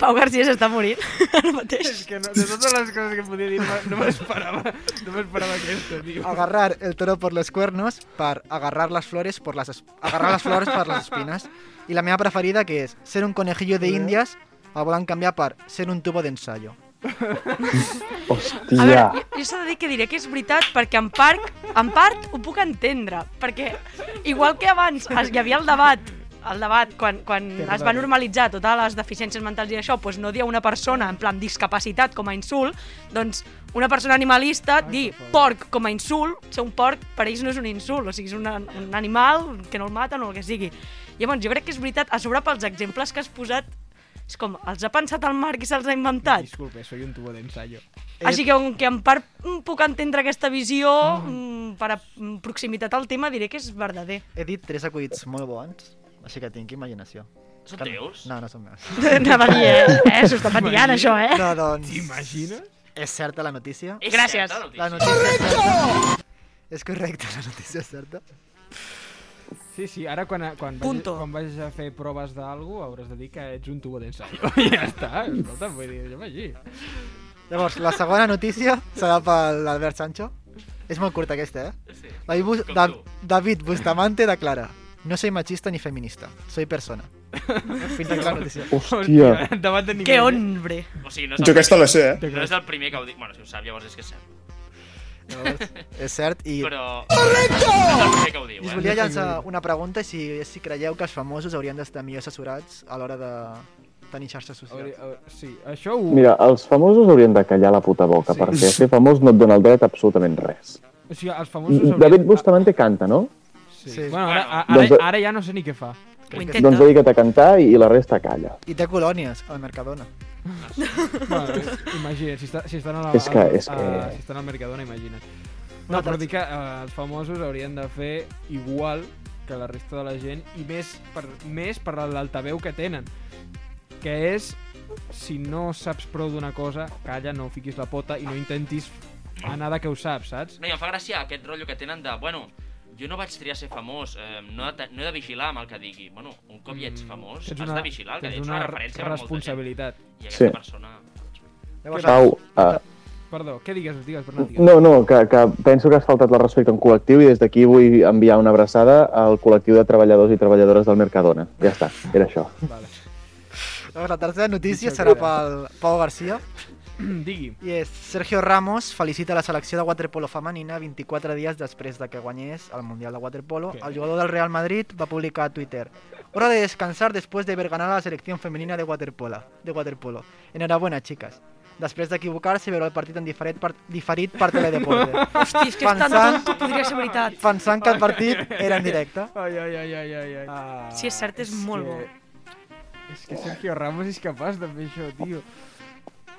Pau García s'està morint ara mateix. És que no, de totes les coses que podia dir, no- no m'esperava, no m'esperava aquesta, tio. agarrar el toro por los cuernos per agarrar les flores por las es- agarrar les flores per les espines i la meva preferida que és ser un conejillo de índies el volen canviar per ser un tubo d'ensayo A Hòstia. veure, jo, jo s'ha de dir que diré que és veritat perquè en, parc, en part ho puc entendre, perquè igual que abans es, hi havia el debat el debat, quan, quan Perdó. es va normalitzar totes les deficiències mentals i això, doncs no dir a una persona en plan discapacitat com a insult, doncs una persona animalista, dir porc com a insult, ser un porc per ells no és un insult, o sigui, és una, un animal que no el maten o el que sigui. Llavors, jo crec que és veritat, a sobre pels exemples que has posat, és com, els ha pensat el Marc i se'ls ha inventat? Disculpe, soy un tubo de ensayo. Eh, Així que, com que en part mm, puc entendre aquesta visió, mm. per a mm, proximitat al tema, diré que és verdader. he dit tres acudits molt bons així que tinc imaginació Són Que- teus? No, no són meus Anava a dir, eh? eh S'ho està patillant, això, eh? no, doncs, T'imagines? és certa la notícia És Gràcies. certa la notícia? notícia és certa és correcte, la notícia és certa Sí, sí, ara quan, quan, vagis, Punto. quan vagis a fer proves d'algú hauràs de dir que ets un tubo d'ensayo. ja està, escolta, vull dir, jo vagi. llavors, la segona notícia serà per l'Albert Sancho és molt curta aquesta, eh? Sí. David, Bus- Com Da- tu. David Bustamante declara No soy machista ni feminista, soy persona. Fins aquí la notícia. Hòstia. Davant de ningú. Que hombre. O sigui, no és, Jo el, aquesta la sé, eh? no és el primer que ho dic. Bueno, si ho sap, llavors és que és cert. És cert, i Però... Correcto! És el primer que ho diu, us eh? volia llançar una pregunta i si, si creieu que els famosos haurien d'estar millor assessorats a l'hora de tenir xarxes socials. Hauria- hau- Sí, això ho... Mira, els famosos haurien de callar la puta boca, Sí. sí. perquè ser famós no et dona el dret a absolutament res. O sigui, els famosos... haurien- David Bustamante canta, no? Sí. Sí. Bueno, ara, a- ara, Doncs- ara ja no sé ni què fa. Ho intenta. Doncs dedica't a cantar i, i la resta calla. I té colònies al Mercadona. Bueno, imagina't, si, està, si estan a la, És que- a- és a- que- si estan al Mercadona, imagina't. No, però dic que eh, els famosos haurien de fer igual que la resta de la gent i més per, més per l'altaveu que tenen, que és si no saps prou d'una cosa, calla, no fiquis la pota i no intentis anar de que ho saps, saps? No, i em fa gràcia aquest rotllo que tenen de, bueno, jo no vaig triar ser famós, eh, no, he de, no he de vigilar amb el que digui. Bueno, un cop ja ets famós, Tens has de vigilar el que tens ets, una, una referència per molta gent. responsabilitat. I aquesta Sí. persona... Llavors, Pau, uh, Perdó, què digues, digues, Bernat? Digues. no, no, que, que penso que has faltat el respecte a un col·lectiu i des d'aquí vull enviar una abraçada al col·lectiu de treballadors i treballadores del Mercadona. Ja està, era això. Vale. llavors la tercera notícia serà pel Pau Garcia Digui. i és Sergio Ramos felicita la selecció de waterpolo femenina 24 dies després de que guanyés el Mundial de Waterpolo. Què? El jugador del Real Madrid va publicar a Twitter Hora de descansar después de haber ganado la selección femenina de waterpolo. De waterpolo. Enhorabuena, chicas. Després d'equivocar-se, veurà el partit en diferit per, diferit per teledeporte. Hosti, és que és tan Pensant- tonto, podria ser veritat. Pensant que el partit era en directe. Ai, ai, ai, ai, ai, ai. Ah, Sí, és cert, és molt bo. És que Sergio Ramos és capaç de fer això, tio.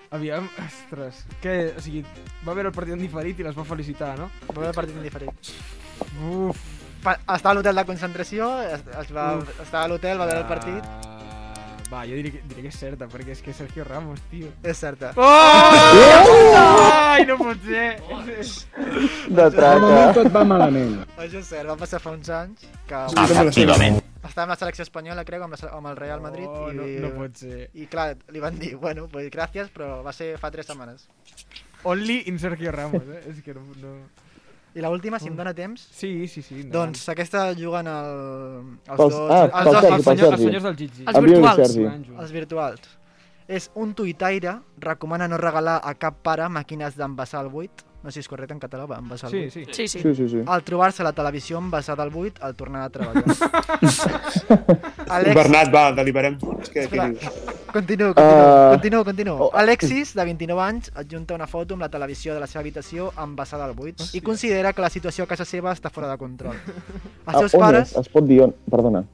Aviam, ostres, que, o sigui, va veure el partit en diferit i les va felicitar, no? Va veure el partit en diferit. Uf, Pa- Estava a l'hotel de concentració, es, es va, Uf. estava a l'hotel, va veure el partit. Ah, va, jo diré, que- diré que és certa, perquè és que és Sergio Ramos, tio. És certa. Oh! Oh! Ai, no pot ser! De De moment traca. tot va malament. Això és cert, va passar fa uns anys que Ah, Efectivament. estava amb la selecció espanyola, crec, amb, la, se- amb el Real Madrid. Oh, i, no, no pot ser. I clar, li van dir, bueno, pues gràcies, però va ser fa tres setmanes. Only in Sergio Ramos, eh? És que no... no... I l'última, si em dóna temps, Sí, sí, sí. endavant. doncs aquesta juguen el, els Pels- dos, ah, els pels dos Sergi, els, pels senyors, els Sergi. senyors del Gigi. Els Envia-li, virtuals. Sergi. Van jugar. els virtuals. És un tuitaire, recomana no regalar a cap pare màquines d'envasar el buit. No sé si és correcte en català, va, envasar el Sí, buit. sí. Sí, sí. Sí, sí, sí. Al trobar-se la televisió envasada al buit al tornar a treballar. Alex... Bernat, va, deliberem junts. Què, què Espera. dius? Continuo, continuo, Ah. continuo, continuo. Oh. Alexis, de 29 anys, adjunta una foto amb la televisió de la seva habitació envasada al buit i considera que la situació a casa seva està fora de control. Els seus Ah, on pares... És? Es pot dir on... Perdona.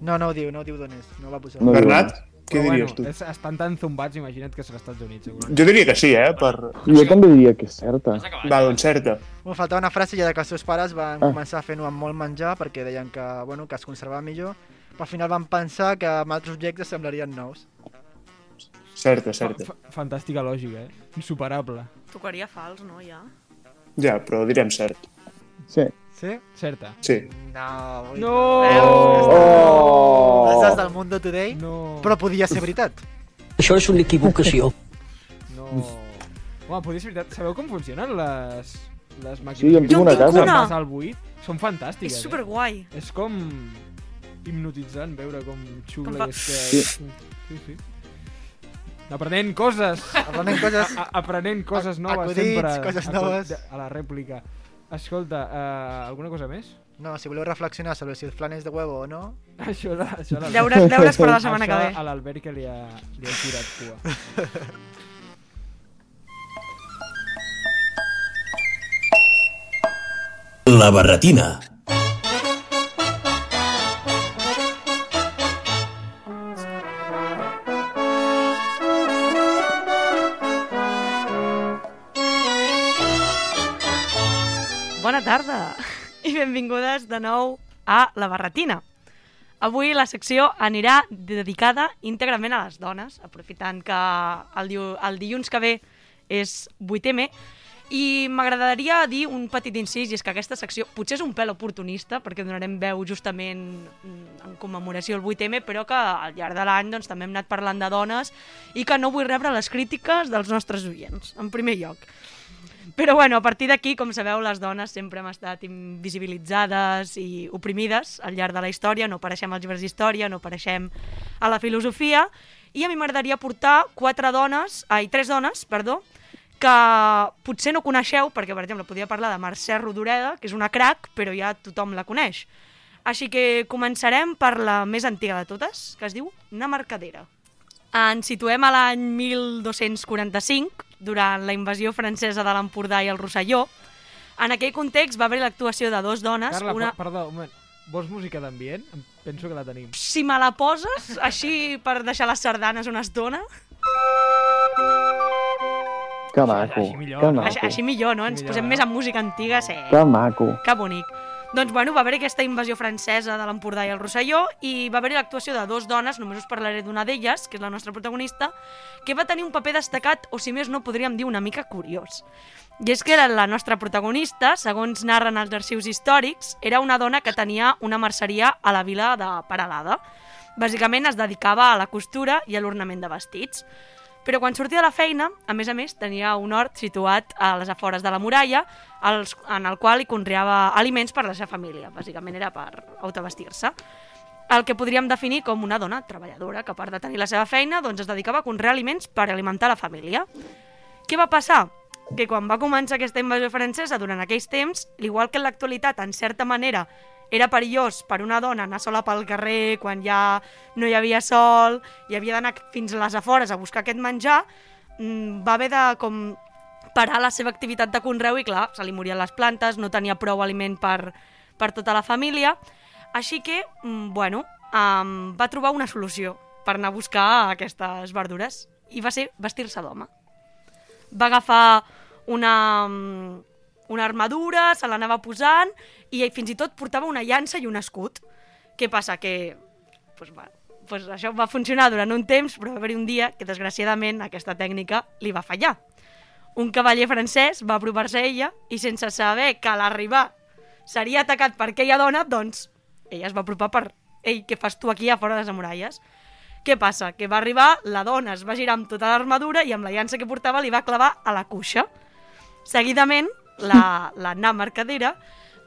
No, no ho diu, no ho diu d'on és, no ho va posar. No. Bernat, què Però diries tu? bueno, és- estan tan zumbats, imagina't que serà als Estats Units, segurament. Jo diria que sí, eh? Per... Jo també diria que és certa. Has acabat? Va, doncs certa. Em faltava una frase ja de que els seus pares van Ah. començar fent-ho amb molt menjar perquè deien que, bueno, que es conservava millor, però al final van pensar que amb altres objectes semblarien nous. Certa, certa. Fa- Fantàstica lògica, eh? Insuperable. Tocaria fals, no, ja? Ja, però direm cert. Sí. Sí? Certa. Sí. No, vull No! Oh! Frases del Mundo Today, no. No. però podia ser veritat. Això és una equivocació. No. Home, podria ser veritat. Sabeu com funcionen les, les màquines? Sí, jo en que tinc una fan casa. passar al buit? Són fantàstiques, És superguai. eh? És com hipnotitzant veure com Com xula fa- com és que... Sí. sí, sí. Aprenent coses! Aprenent coses... A aprenent coses Ac- noves acudits, sempre. coses Acu- noves. A la rèplica. Escolta, uh, alguna cosa més? No, si voleu reflexionar sobre si el flan és de huevo o no, Això la, això la... Deures, deures per la setmana que Això ve. a l'Albert que li ha, li ha tirat cua. La barretina. Bona tarda i benvingudes de nou a La Barretina. Avui la secció anirà dedicada íntegrament a les dones, aprofitant que el, diu, el dilluns que ve és 8M, i m'agradaria dir un petit incís, i és que aquesta secció potser és un pèl oportunista, perquè donarem veu justament mm, en commemoració al 8M, però que al llarg de l'any doncs, també hem anat parlant de dones i que no vull rebre les crítiques dels nostres oients, en primer lloc. Però bueno, a partir d'aquí, com sabeu, les dones sempre hem estat invisibilitzades i oprimides al llarg de la història, no apareixem als llibres d'història, no apareixem a la filosofia, i a mi m'agradaria portar quatre dones, ai, tres dones, perdó, que potser no coneixeu, perquè, per exemple, podria parlar de Mercè Rodoreda, que és una crac, però ja tothom la coneix. Així que començarem per la més antiga de totes, que es diu Na Mercadera. Ens situem a l'any 1245, durant la invasió francesa de l'Empordà i el Rosselló. En aquell context va haver l'actuació de dues dones... Carla, una... perdó, un moment. Vols música d'ambient? Em Penso que la tenim. si me la poses, així per deixar les sardanes una estona, Que maco, Així millor, que no? així, així maco, millor, no? Ens Millor, posem no? més en música antiga, sí. que maco. Que bonic. Doncs, bueno, va haver aquesta invasió francesa de l'Empordà i el Rosselló i va haver l'actuació de dos dones, només us parlaré d'una d'elles, que és la nostra protagonista, que va tenir un paper destacat, o si més no podríem dir una mica curiós. I és que era la nostra protagonista, segons narren els arxius històrics, era una dona que tenia una merceria a la vila de Peralada. Bàsicament es dedicava a la costura i a l'ornament de vestits. Però quan sortia de la feina, a més a més, tenia un hort situat a les afores de la muralla, els, en el qual hi conreava aliments per a la seva família. Bàsicament era per autovestir-se. El que podríem definir com una dona treballadora, que a part de tenir la seva feina, doncs es dedicava a conrear aliments per alimentar la família. Què va passar? Que quan va començar aquesta invasió francesa durant aquells temps, igual que en l'actualitat, en certa manera, era perillós per una dona anar sola pel carrer quan ja no hi havia sol i havia d'anar fins a les afores a buscar aquest menjar, mm, va haver de com parar la seva activitat de conreu i clar, se li morien les plantes, no tenia prou aliment per, per tota la família, així que, mm, bueno, um, va trobar una solució per anar a buscar aquestes verdures i va ser vestir-se d'home va agafar una, mm, una armadura, se l'anava posant i fins i tot portava una llança i un escut. Què passa? Que pues, va, pues això va funcionar durant un temps, però va haver-hi un dia que, desgraciadament, aquesta tècnica li va fallar. Un cavaller francès va apropar-se a ella i sense saber que a l'arribar seria atacat per aquella dona, doncs ella es va apropar per «Ei, què fas tu aquí a fora de les muralles?» Què passa? Que va arribar, la dona es va girar amb tota l'armadura i amb la llança que portava li va clavar a la cuixa. Seguidament, la, la Anna Mercadera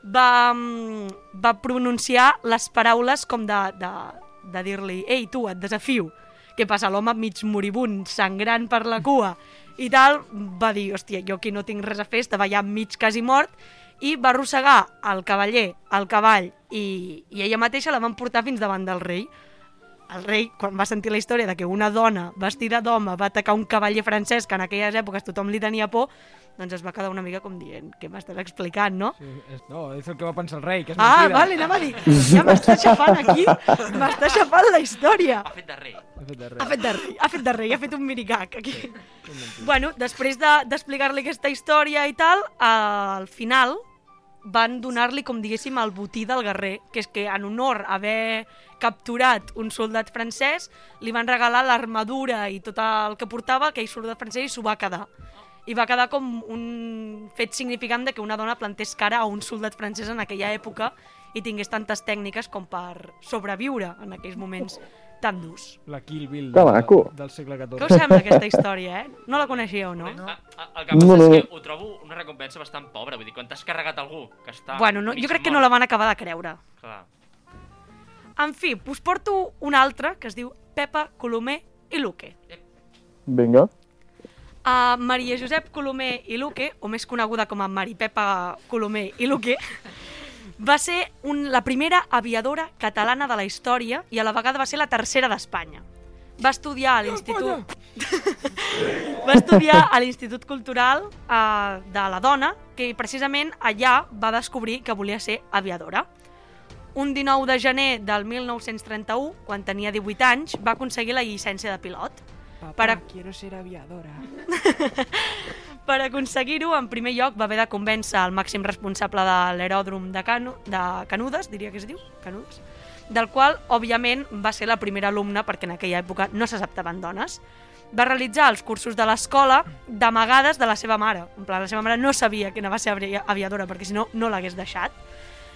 va, mm, va pronunciar les paraules com de, de, de dir-li «Ei, tu, et desafio!» Què passa? L'home mig moribund, sangrant per la cua i tal, va dir «Hòstia, jo aquí no tinc res a fer, estava ja mig quasi mort» i va arrossegar el cavaller, el cavall i, i ella mateixa la van portar fins davant del rei el rei, quan va sentir la història de que una dona vestida d'home va atacar un cavaller francès que en aquelles èpoques tothom li tenia por, doncs es va quedar una mica com dient què m'estàs explicant, no? Sí, és, no, és el que va pensar el rei, que és Ah, mentida. vale, anava a dir, ja m'està xafant aquí, m'està xafant la història. Ha fet de rei. Ha fet de Ha res. fet de rei, ha fet de rei, ha fet un minicac aquí. Bueno, després de- d'explicar-li de, aquesta història i tal, al final van donar-li, com diguéssim, el botí del guerrer, que és que en honor a haver capturat un soldat francès, li van regalar l'armadura i tot el que portava, aquell soldat francès i s'ho va quedar. I va quedar com un fet significant de que una dona plantés cara a un soldat francès en aquella època i tingués tantes tècniques com per sobreviure en aquells moments tan durs. La Kill Bill Que de- maco. del segle Què XIV. us sembla aquesta història, eh? No la coneixíeu, no? A- a- El que passa No, no, és que ho trobo una recompensa bastant pobra. Vull dir, quan t'has carregat algú que està... Bueno, no, mig jo crec que no la mort, van acabar de creure. Clar. En fi, us porto una altra que es diu Pepa, Colomer i Luque. Vinga. A Maria Josep Colomer i Luque, o més coneguda com a Mari Pepa Colomer i Luque, va ser un, la primera aviadora catalana de la història i a la vegada va ser la tercera d'Espanya. Va estudiar a l'Institut... va estudiar a l'Institut Cultural eh, de la Dona, que precisament allà va descobrir que volia ser aviadora. Un 19 de gener del 1931, quan tenia 18 anys, va aconseguir la llicència de pilot. Papá, para... quiero ser aviadora. per aconseguir-ho, en primer lloc, va haver de convèncer el màxim responsable de l'aeròdrom de, Canu... de Canudes, diria que es diu, Canudes, del qual, òbviament, va ser la primera alumna perquè en aquella època no s'acceptaven dones. Va realitzar els cursos de l'escola d'amagades de la seva mare. En plan, la seva mare no sabia que anava a ser avi- aviadora perquè si no, no l'hagués deixat.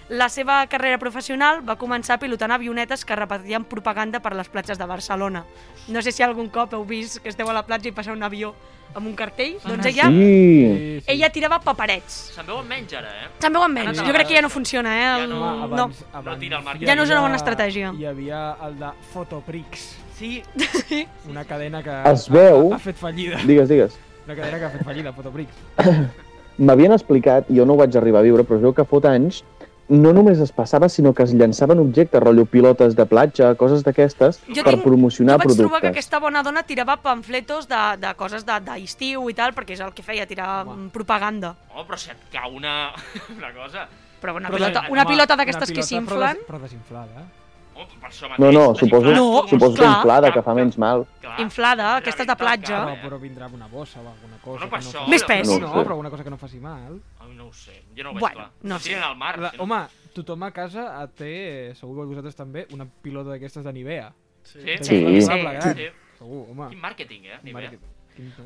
La seva carrera professional va començar pilotant avionetes que repartien propaganda per les platges de Barcelona. No sé si algun cop heu vist que esteu a la platja i passa un avió amb un cartell. doncs ella, Sí. Sí, sí. ella tirava paperets. Ah, Se'n veuen menys ara, eh? Se'n veuen menys. Jo crec que ja no funciona, eh? Ja El... no, no. Home, Ah, abans, abans, No tira al mar. hi Ja no és una bona havia- estratègia. Hi havia el de Fotoprix, Sí. una cadena que Es veu- ha, ha fet fallida. Digues, digues. Una cadena que ha fet fallida, Fotobricks. M'havien explicat, jo no ho vaig arribar a viure, però es veu que fot anys, no només es passava, sinó que es llançaven objectes, rotllo pilotes de platja, coses d'aquestes, Jo per tinc- promocionar jo vaig productes. trobar que aquesta bona dona tirava pamfletos de, de coses de- d'estiu de, i tal, perquè és el que feia, tirar Home. mm, propaganda. Oh, però si et cau una, una cosa... Però una Però pilota, de- una home, pilota Una d'aquestes que pilota, però s'inflen... des- Però desinflada. Oh, per això mateix, No, no, desinflar- suposo, No, suposo que clar. inflada, que fa menys mal. Clar. Inflada, aquestes de platja. Clar, Però, eh? però vindrà amb una bossa o alguna cosa. No, per que això. faci- Més pes. No, No no, ho sé. però alguna cosa que no faci mal. Ai, no ho sé, jo no ho veig Bueno, clar. no No sé. sé. al mar. La, si no- home, tothom a casa eh, té, segur que vosaltres també, una pilota d'aquestes de Nivea. Sí, Sí. Una inflable Sí. gran. Sí. Segur, home. Quin màrqueting, eh? Ni bé. Marc- quin-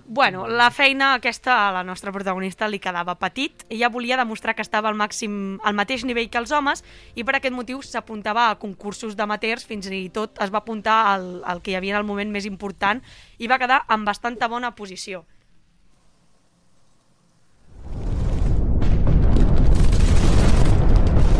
Bueno, la feina aquesta a la nostra protagonista li quedava petit. Ella volia demostrar que estava al màxim al mateix nivell que els homes i per aquest motiu s'apuntava a concursos d'amateurs, fins i tot es va apuntar al, al que hi havia en el moment més important i va quedar en bastanta bona posició.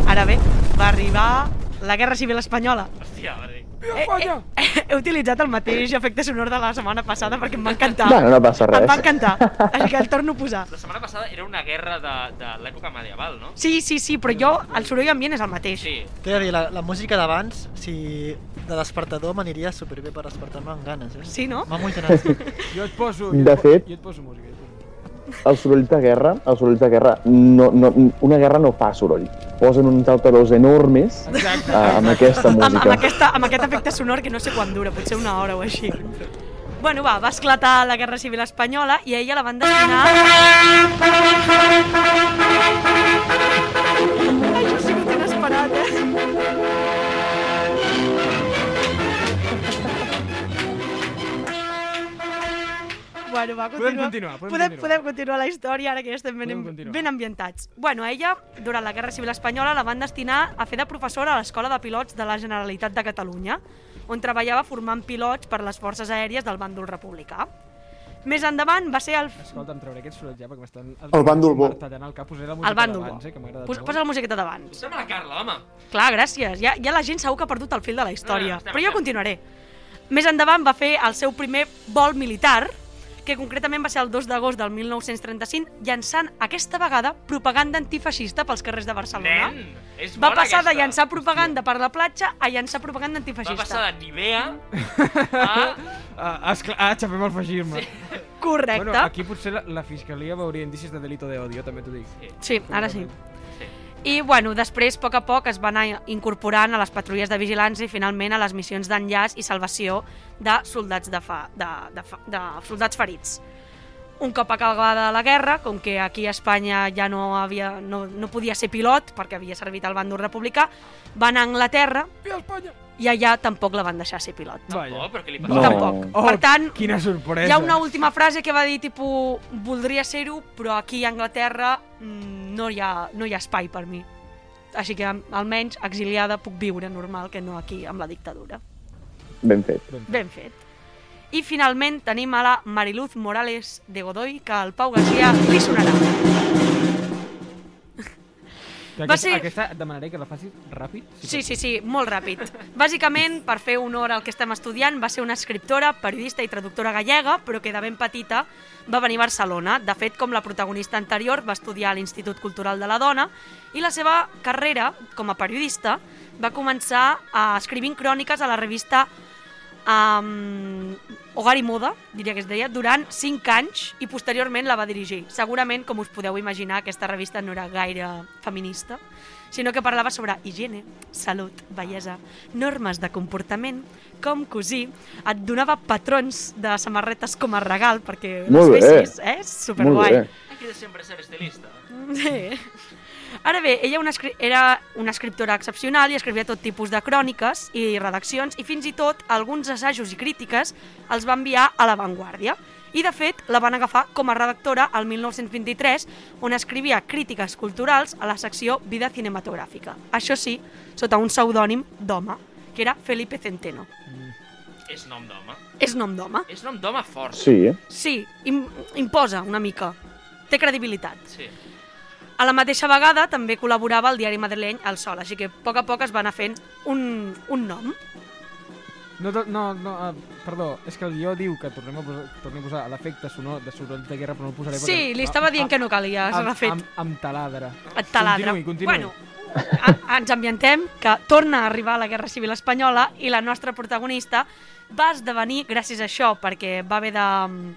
Ara bé, va arribar la Guerra Civil Espanyola. Hòstia, vale. Eh, eh, he utilitzat el mateix efecte sonor de la setmana passada perquè em va encantar. Bueno, no passa Em va res. encantar, així que el torno a posar. La setmana passada era una guerra de, de l'època medieval, no? Sí, sí, sí, però jo, el soroll ambient és el mateix. Sí. T'he de dir, la, la música d'abans, si de despertador m'aniria superbé per despertar-me amb ganes, eh? Sí, no? M'ha emocionat. Jo et poso... De jo et, po- fet- Jo et poso música. Jo et poso música. Els sorolls de guerra, els sorolls de guerra, no, no, una guerra no fa soroll. Posen uns altaveus enormes Exacte. ah, amb aquesta Amb, amb, música. aquesta, amb aquest efecte sonor que no sé quan dura, potser una hora o així. Bueno, va, va esclatar la Guerra Civil Espanyola i a ella la van destinar... Això ha sigut inesperat, eh? Bueno, va, Podem continua. continuar, podem podem, continuar. podem continuar la història ara que ja estem Podem ben, continuar. ben ambientats. Bueno, ella, durant la Guerra Civil Espanyola, la van destinar a fer de professora a l'Escola de Pilots de la Generalitat de Catalunya, on treballava formant pilots per les forces aèries del bàndol republicà. Més endavant va ser el... Escolta, em trauré aquest soroll ja perquè m'estan... El bàndol bo. Tallant el cap, posaré la música El bàndol. d'abans, eh, que m'ha agradat Posa, molt. posa la musiqueta d'abans. Posem a la Carla, home. Clar, gràcies. Ja, ja la gent segur que ha perdut el fil de la història. Ah, està però jo marxant. continuaré. Més endavant va fer el seu primer vol militar, que concretament va ser el 2 d'agost del 1935, llançant aquesta vegada propaganda antifeixista pels carrers de Barcelona. Nen, és Va bona passar aquesta. de llançar propaganda per la platja a llançar propaganda Va passar antifeixista. de Nivea a... Ah, esclar, ah, xapem el feixisme. Correcte. Bueno, aquí potser la, la fiscalia veuria indicis de delito de odio, també t'ho dic. Sí, ara sí. Sí. I, bueno, després, a poc a poc, es va anar incorporant a les patrulles de vigilància i, finalment, a les missions d'enllaç i salvació de soldats, de fa, de, de, fa, de soldats ferits. Un cop acabada la guerra, com que aquí a Espanya ja no, havia, no, no podia ser pilot perquè havia servit al bàndol republicà, va anar a Anglaterra i allà tampoc la van deixar ser pilot. Oh, Vaja. però què li No. passa? Tampoc. Oh, per tant, quina sorpresa. hi ha una última frase que va dir, tipus, voldria ser-ho, però aquí a Anglaterra mm, no hi, ha, no hi ha espai per mi. Així que am- almenys exiliada puc viure normal, que no aquí amb la dictadura. Ben fet. Ben fet. I finalment tenim a la Mariluz Morales de Godoy, que al Pau Garcia li sonarà. Que Va aquesta, ser- aquesta et demanaré que la facis ràpid. Sí, sí, sí, molt ràpid. Bàsicament, per fer honor al que estem estudiant, va ser una escriptora, periodista i traductora gallega, però que de ben petita va venir a Barcelona. De fet, com la protagonista anterior, va estudiar a l'Institut Cultural de la Dona i la seva carrera com a periodista va començar a escrivint cròniques a la revista um, Hogar i Moda, diria que es deia, durant 5 anys i posteriorment la va dirigir. Segurament, com us podeu imaginar, aquesta revista no era gaire feminista, sinó que parlava sobre higiene, salut, bellesa, normes de comportament, com cosir, et donava patrons de samarretes com a regal perquè Molt bé. les fessis, eh? Superguai. Molt bé. Aquí de sempre ser estilista. Sí. Ara bé, ella una escri- era una escriptora excepcional i escrivia tot tipus de cròniques i redaccions i fins i tot alguns assajos i crítiques els va enviar a La Vanguardia. I, de fet, la van agafar com a redactora al 1923, on escrivia crítiques culturals a la secció Vida Cinematogràfica. Això sí, sota un pseudònim d'home, que era Felipe Centeno. És nom d'home. És nom d'home? És nom d'home fort. Sí, Sí, im imposa una mica. Té credibilitat. Sí. A la mateixa vegada també col·laborava al diari madrileny El Sol, així que a poc a poc es va anar fent un, un nom. No, to- no, no, ah, perdó, és que el guió diu que tornem a posar, tornem a posar l'efecte sonor de soroll de guerra, però no el posaré perquè... Sí, li estava dient que no calia, se amb- l'ha fet. Amb, amb taladre. Et taladra. Continuï, continuï. Bueno, a, ens ambientem que torna a arribar la Guerra Civil Espanyola i la nostra protagonista va esdevenir gràcies a això, perquè va haver de, mm,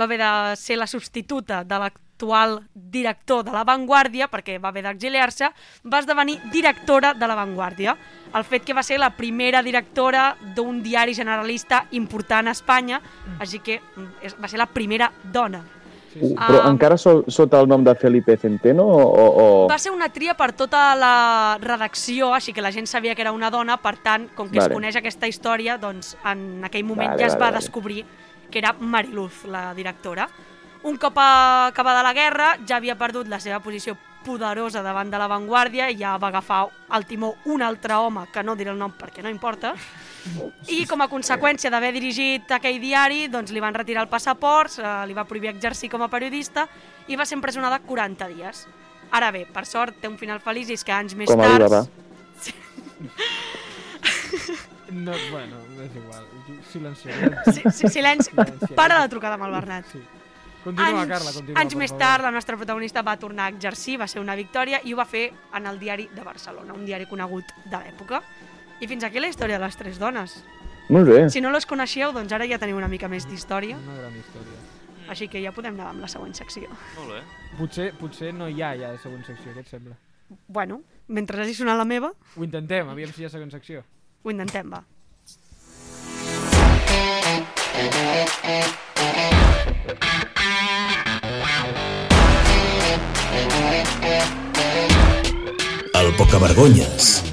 va haver de ser la substituta de l'actual director de La Vanguardia, perquè va haver d'exiliar-se, va esdevenir directora de La Vanguardia. El fet que va ser la primera directora d'un diari generalista important a Espanya, així que mm, és- va ser la primera dona. Uh, però Ah. encara so, sota el nom de Felipe Centeno o... o, o... Va ser una tria per tota la redacció, així que la gent sabia que era una dona, per tant, com que vale. Vale. es coneix aquesta història, doncs en aquell moment Vale, ja es vale, va vale. descobrir que era Mariluz, la directora. Un cop a- acabada la guerra, ja havia perdut la seva posició poderosa davant de l'avantguàrdia i ja va agafar el timó un altre home, que no diré el nom perquè no importa, i com a conseqüència d'haver dirigit aquell diari, doncs li van retirar el passaport, se li va prohibir exercir com a periodista i va ser empresonada 40 dies. Ara bé, per sort, té un final feliç i és que anys més Com tard... Alibaba. No, bueno, és igual. Silenciaré. Si, si, silenci, para de trucar amb el Bernat. Sí. Continua, anys, Carla, continua, anys per més favor. tard, la nostra protagonista va tornar a exercir, va ser una victòria, i ho va fer en el diari de Barcelona, un diari conegut de l'època. I fins aquí la història de les tres dones. Molt bé. Si no les coneixeu, doncs ara ja teniu una mica més d'història, Una gran història. així que ja podem anar amb la següent secció. Molt bé. Potser, potser no hi ha ja la següent secció, què et sembla? Bueno, mentre hagi sonat la meva, Ho intentem, aviam si hi ha següent secció. ho intentem, va. El Pocavergonyes.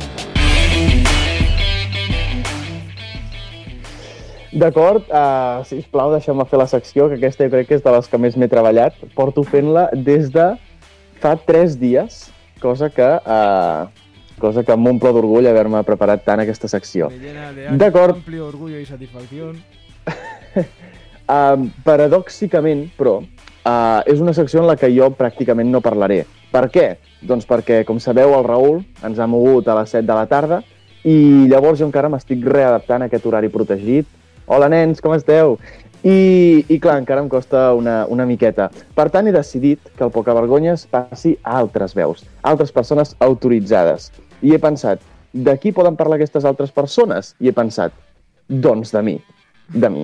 D'acord, uh, sisplau, deixeu-me fer la secció, que aquesta crec que és de les que més m'he treballat. Porto fent-la des de fa 3 dies, cosa que, uh, cosa que m'omple d'orgull haver-me preparat tant aquesta secció. Me llena de D'acord. amplio orgullo y satisfacción. Um, paradòxicament, però, uh, és una secció en la que jo pràcticament no parlaré. Per què? Doncs perquè, com sabeu, el Raül ens ha mogut a les 7 de la tarda i llavors jo encara m'estic readaptant a aquest horari protegit. Hola, nens, com esteu? I, i clar, encara em costa una, una miqueta. Per tant, he decidit que el Pocavergonyes passi a altres veus, altres persones autoritzades. I he pensat, de qui poden parlar aquestes altres persones? I he pensat, doncs de mi, de mi.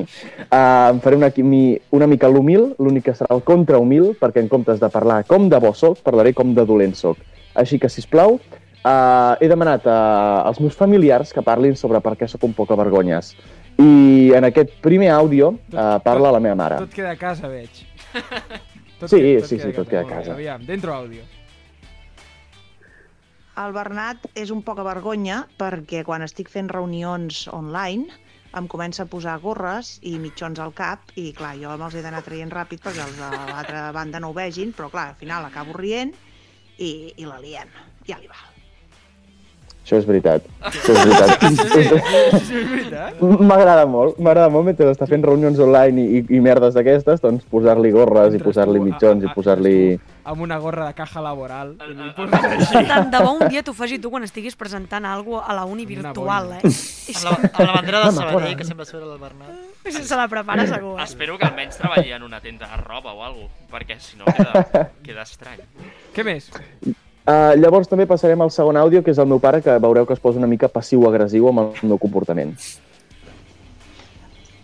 Uh, em faré una, mi, una mica l'humil, l'únic que serà el contrahumil, perquè en comptes de parlar com de bo soc, parlaré com de dolent soc. Així que, si plau, uh, he demanat uh, als meus familiars que parlin sobre per què sóc un poc avergonyes. I en aquest primer àudio uh, parla la meva mare. Tot queda a casa, veig. Tot Sí, queda- sí, sí, tot queda a Molt bé, casa. Aviam, dentro àudio. El Bernat és un poca vergonya perquè quan estic fent reunions online em comença a posar gorres i mitjons al cap i clar, jo me'ls he d'anar traient ràpid perquè els de l'altra banda no ho vegin, però clar, al final acabo rient i, i la liem. Ja li va. Això és veritat. Això és veritat. És- és- Sí, és veritat? M'agrada molt, m'agrada molt mentre està fent reunions online i, i, i merdes d'aquestes, doncs posar-li gorres i Entres posar-li tu ah, a- mitjons a- i posar-li... Amb una gorra de caja laboral. i li a- poses així. Tant de bo un dia t'ho faci tu quan estiguis presentant alguna cosa a la uni Una virtual, boina. eh? Amb la, amb la bandera de Sabadell, que sempre surt el Bernat. Se la prepara segur, eh? Espero que almenys treballi en una tenda de roba o alguna cosa, perquè si no queda, queda estrany. Què més? Uh, llavors també passarem al segon àudio, que és el meu pare, que veureu que es posa una mica passiu-agressiu amb el meu comportament.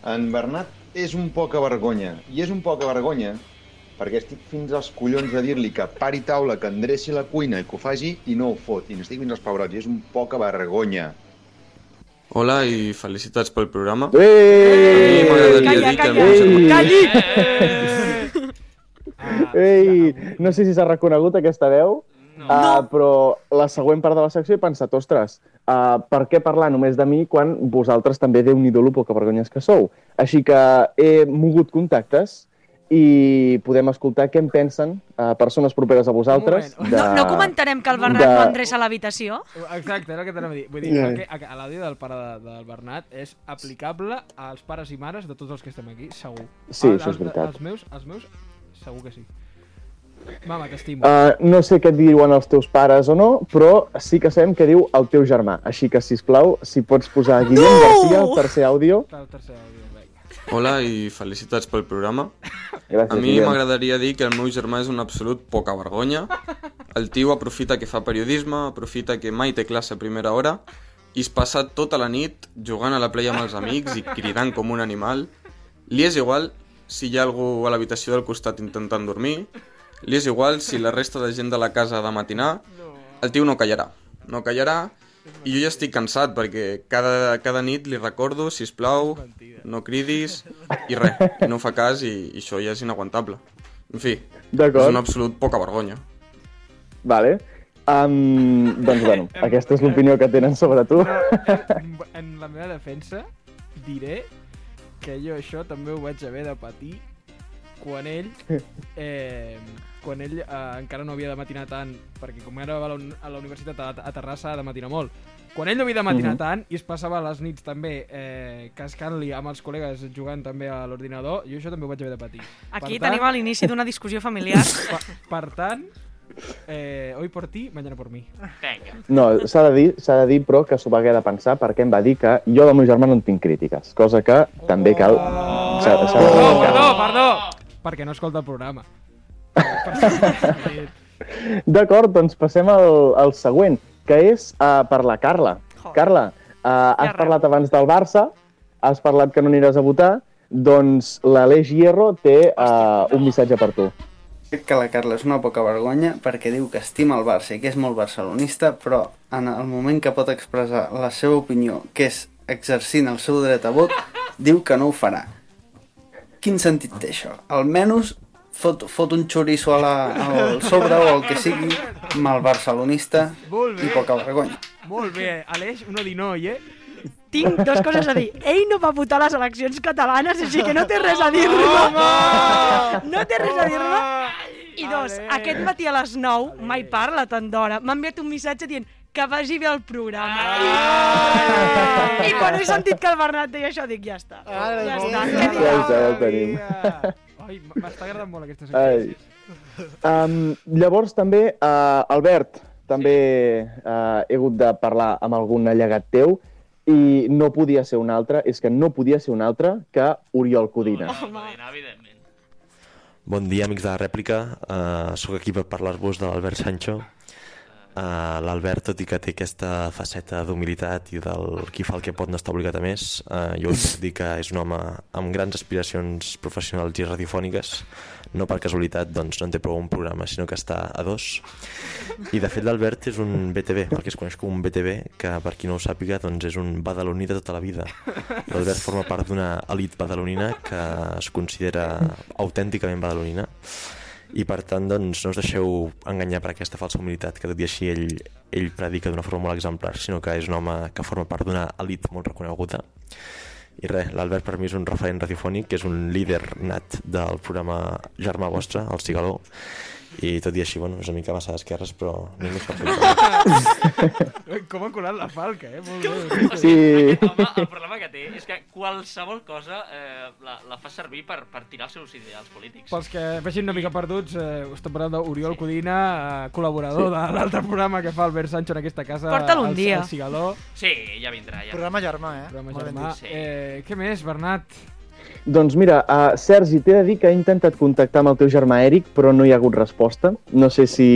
En Bernat és un poca vergonya, i és un poca vergonya perquè estic fins als collons de dir-li que pari taula, que endreci la cuina i que ho faci i no ho fot, i n'estic fins als pebrots, i és un poca vergonya. Hola i felicitats pel programa. Ei! A mi m'agradaria Calla, dir que calla, m'ha semblat- calli! Ei! No sé si s'ha reconegut aquesta veu, No. uh, però la següent part de la secció he pensat, ostres, uh, per què parlar només de mi quan vosaltres també déu nhi do poca vergonyes que sou? Així que he mogut contactes i podem escoltar què en pensen uh, persones properes a vosaltres. Un moment. de- No, no comentarem que el Bernat de- no endreça a l'habitació? Exacte, era el que t'anava a dir. Vull dir, Ja. yeah. a, a l'àudio del pare de, del Bernat és aplicable als pares i mares de tots els que estem aquí, segur. Sí, El- això és els de- veritat. Els meus, els meus, segur que sí. Mama, t'estimo. Uh, no sé què et diuen els teus pares o no, però sí que sabem què diu el teu germà. Així que, si plau, si pots posar Guillem No! García al tercer àudio. Hola i felicitats pel programa. Gràcies, a mi Guillem. m'agradaria dir que el meu germà és un absolut poca vergonya. El tio aprofita que fa periodisme, aprofita que mai té classe a primera hora i es passa tota la nit jugant a la playa amb els amics i cridant com un animal. Li és igual si hi ha algú a l'habitació del costat intentant dormir. Li és igual si la resta de gent de la casa ha de matinar. El tio no callarà. No callarà i jo ja estic cansat perquè cada, cada nit li recordo, si plau, no cridis i res, i no fa cas i, i això ja és inaguantable. En fi, D'acord. és un absolut poca vergonya. Vale. Um, doncs, bueno, aquesta és l'opinió que tenen sobre tu. En, en la meva defensa, diré que jo això també ho vaig haver de patir quan ell, eh, quan ell eh, encara no havia de matinar tant, perquè com era a la, uni- a la universitat a, a Terrassa ha de matinar molt. Quan ell no havia de matinar Mhm. tant i es passava les nits també eh, cascant-li amb els col·legues jugant també a l'ordinador, jo això també ho vaig haver de patir. Aquí tenim a l'inici d'una discussió familiar. Per, per tant, eh, hoy por ti, mañana por mi. Ah. Venga. No, s'ha de, dir, s'ha de dir, però, que s'ho va haver de pensar perquè em va dir que jo del meu germà no en tinc crítiques, cosa que també cal... S'ha, s'ha de Perdó, recalcar. Oh! perdó, perdó! Perquè no escolta el programa. D'acord, doncs passem al, al següent, que és uh, per la Carla. Carla, uh, has parlat abans del Barça, has parlat que no aniràs a votar, doncs l'Aleix Hierro té uh, un missatge per tu. Crec que la Carla és una poca vergonya perquè diu que estima el Barça i que és molt barcelonista, però en el moment que pot expressar la seva opinió, que és exercint el seu dret a vot, diu que no ho farà. Quin sentit té això? Almenys fot, fot un xoriço a la, al sobre o el que sigui, mal barcelonista Molt i poca vergonya. Molt bé, Aleix, un odinoi, eh? Tinc dues coses a dir. Ell no va votar les eleccions catalanes, així que no té res a dir-lo. No té res a dir-lo. I dos, aquest matí a les 9, mai parla tant d'hora, m'ha enviat un missatge dient que vagi bé el programa. I quan he sentit que el Bernat deia això, dic, ja està. Ja està. meva. Què Ja ho sé, ja ho tenim. Ai, m- m'està agradant molt aquesta Ai. secció. Um, llavors, també, uh, Albert, també uh, he hagut de parlar amb algun allegat teu i no podia ser un altre, és que no podia ser un altre que Oriol Codina. Bon dia, amics de la rèplica. Uh, sóc aquí per parlar-vos de l'Albert Sancho. Uh, L'Albert, tot i que té aquesta faceta d'humilitat i del qui fa el que pot no està obligat a més, uh, jo us puc dir que és un home amb grans aspiracions professionals i radiofòniques. No per casualitat, doncs, no en té prou un programa, sinó que està a dos. I, de fet, l'Albert és un BTV, el que es coneix com un BTV, que, per qui no ho sàpiga, doncs, és un badaloní de tota la vida. L'Albert forma part d'una elit badalonina que es considera autènticament badalonina i per tant doncs, no us deixeu enganyar per aquesta falsa humilitat que tot i així ell, ell predica d'una forma molt exemplar sinó que és un home que forma part d'una elit molt reconeguda i res, l'Albert per mi és un referent radiofònic que és un líder nat del programa Germà Vostre, el Cigaló i tot i així, bueno, és una mica massa d'esquerres però no és més per fer-ho. Ai, Com ha colat la falca, eh? Molt O bé. sigui, Aquest home, el problema que té és que qualsevol cosa eh, la, la fa servir per, per tirar els seus ideals polítics. Pels que vegin una mica perduts, eh, estem parlant d'Oriol Codina, eh, col·laborador Sí. de l'altre programa que fa Albert Sancho en aquesta casa. Porta'l un el- dia. El Cigaló. Sí, ja vindrà, ja. Programa germà, eh? Programa Molt ben germà. dit. Eh, què més, Bernat? Doncs mira, uh, Sergi, t'he de dir que he intentat contactar amb el teu germà Eric, però no hi ha hagut resposta. No sé si...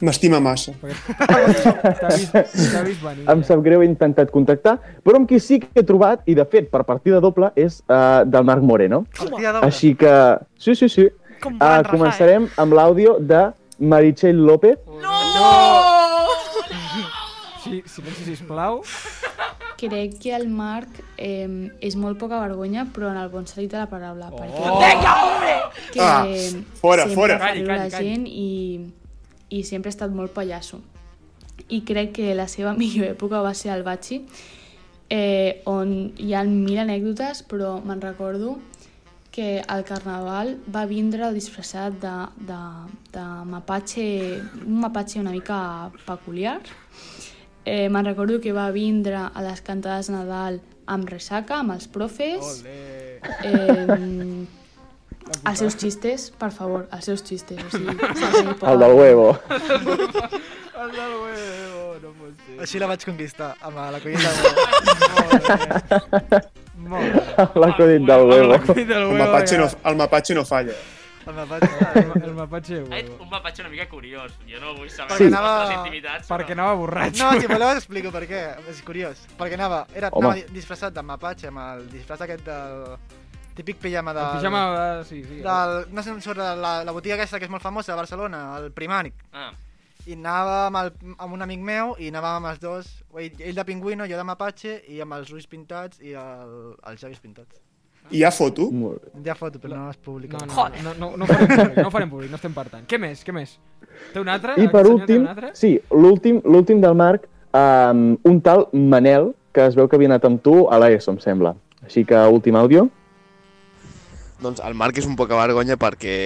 M'estima massa. T'ha vist, t'ha vist venir. Em sap greu, he intentat contactar, però amb qui sí que he trobat, i de fet, per partida doble, és uh, del Marc Moreno. Partida doble. Així que, sí, sí, sí. Com Uh, volen rajar, començarem amb l'àudio de Meritxell López. Sí, silenci, sisplau. Crec que el Marc eh, és molt poca vergonya, però en el bon sentit de la paraula. Oh. Perquè... Vinga, hombre! Que Ah, fora, sempre fora. fa Calli, riure calli, la calli. gent i, i sempre ha estat molt pallasso. I crec que la seva millor època va ser al Batxi, eh, on hi ha mil anècdotes, però me'n recordo que al Carnaval va vindre disfressat de, de, de mapatge, un mapatge una mica peculiar. Eh, me'n recordo que va vindre a les cantades de Nadal amb ressaca, amb els profes. Eh, Els seus xistes, per favor, els seus xistes. O sigui, El del huevo. Així la vaig conquistar, amb la collita de... Molt L'acudit del huevo. El mapatge, no, el mapatge no falla. El mapatge. El mapatge. Un mapatge una mica curiós. Jo no vull saber Perquè les anava- vostres intimitats. Perquè anava borratxo. No, si voleu us explico per què, és curiós. Perquè anava, era, Home. anava disfressat de mapatge, amb el disfraç aquest del típic pijama del... El pijama de- sí, sí. Del, no sé, em surt de la, la botiga aquesta que és molt famosa a Barcelona, el Primànic. Ah. I anava amb, el, amb un amic meu i anàvem els dos, ell, ell de pingüino, jo de mapatge, i amb els ulls pintats i el, els llavis pintats. Hi ha foto? Ja foto, però no es publica. No, no, no, no, no, ho farem públic, no ho farem públic, no estem per tant. Què més, què més? Té un altre? I per Aquest Ah, senyor té últim, un altre? sí, l'últim l'últim del Marc, um, un tal Manel, que es veu que havia anat amb tu a l'ESO, em sembla. Així que últim àudio. Doncs el Marc és un poca vergonya perquè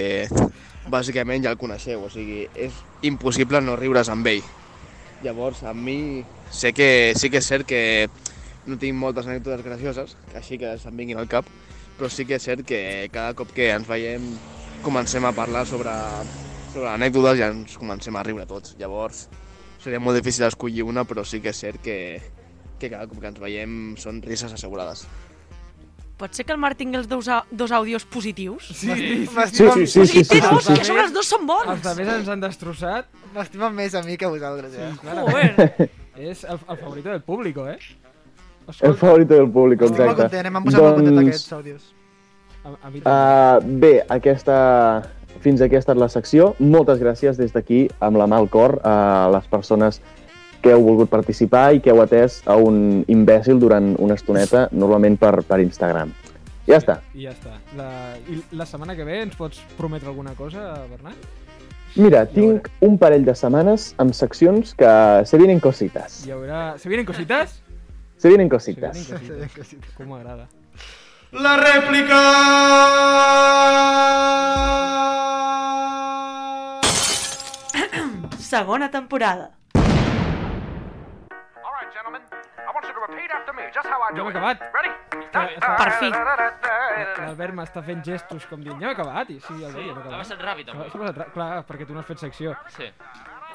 bàsicament ja el coneixeu, o sigui, és impossible no riure's amb ell. Llavors, amb mi sé que sí que és cert que no tinc moltes anècdotes gracioses, així que se'n vinguin al cap, però sí que és cert que cada cop que ens veiem comencem a parlar sobre, sobre anècdotes i ens comencem a riure tots. Llavors, seria molt difícil escollir una, però sí que és cert que, que cada cop que ens veiem són risses assegurades. Pot ser que el Marc tingui els dos, au- dos àudios positius? Sí, sí, sí, sí, sí, sí, Dos, sí, que sí. a sobre els dos són bons. Els altres ens han destrossat. M'estimen més a mi que a vosaltres, eh? Joder. És el, el favorito del público, eh? El favorito del públic, Estic molt exacte. Doncs content, eh? M'han posat molt content aquests àudios. A, a mi Uh, bé, aquesta... fins aquí ha estat la secció. Moltes gràcies des d'aquí, amb la mà al cor, a les persones que heu volgut participar i que heu atès a un imbècil durant una estoneta, normalment per, per Instagram. Ja està. I ja està. La, I la setmana que ve ens pots prometre alguna cosa, Bernat? Mira, tinc un parell de setmanes amb seccions que se vienen cositas. Hi haurà... Se vienen cositas? Se vienen Se vienen cositas. cositas. Com m'agrada. La réplica. Segona temporada. Ja hem acabat. Per fi. L'Albert m'està fent gestos com dient, ja hem acabat. I sí, Albert, Sí, ja hem acabat. ha passat ràpid, avui. Ha passat rà- Clar, perquè tu no has fet secció. Sí.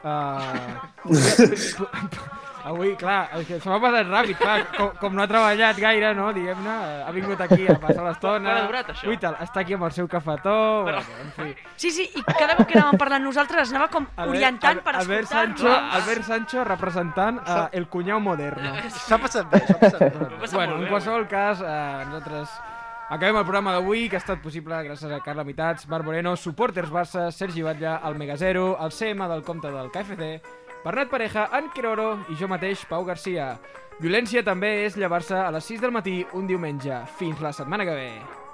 Uh, avui, clar, és que se m'ha passat ràpid, clar, com, com no ha treballat gaire, no, diguem-ne, ha vingut aquí a passar l'estona. Quant ha durat, això? Ui, tal, està aquí amb el seu cafetó, bueno, en fi. Sí, sí, i cada vegada que anàvem parlant nosaltres anava com Albert- orientant per Albert Sancho, escoltar-nos. Albert Sancho representant uh, el cunyau moderno. S'ha passat bé, s'ha passat bé. bueno, en qualsevol cas, eh, nosaltres acabem el programa d'avui, que ha estat possible gràcies a Carla Mitats, Marc Moreno, Supporters Barça, Sergi Batlla, el Megazero, el CM del compte del KFC, Bernat Pareja, en Queroro i jo mateix, Pau Garcia. Violència també és llevar-se a les 6 del matí un diumenge. Fins la setmana que ve.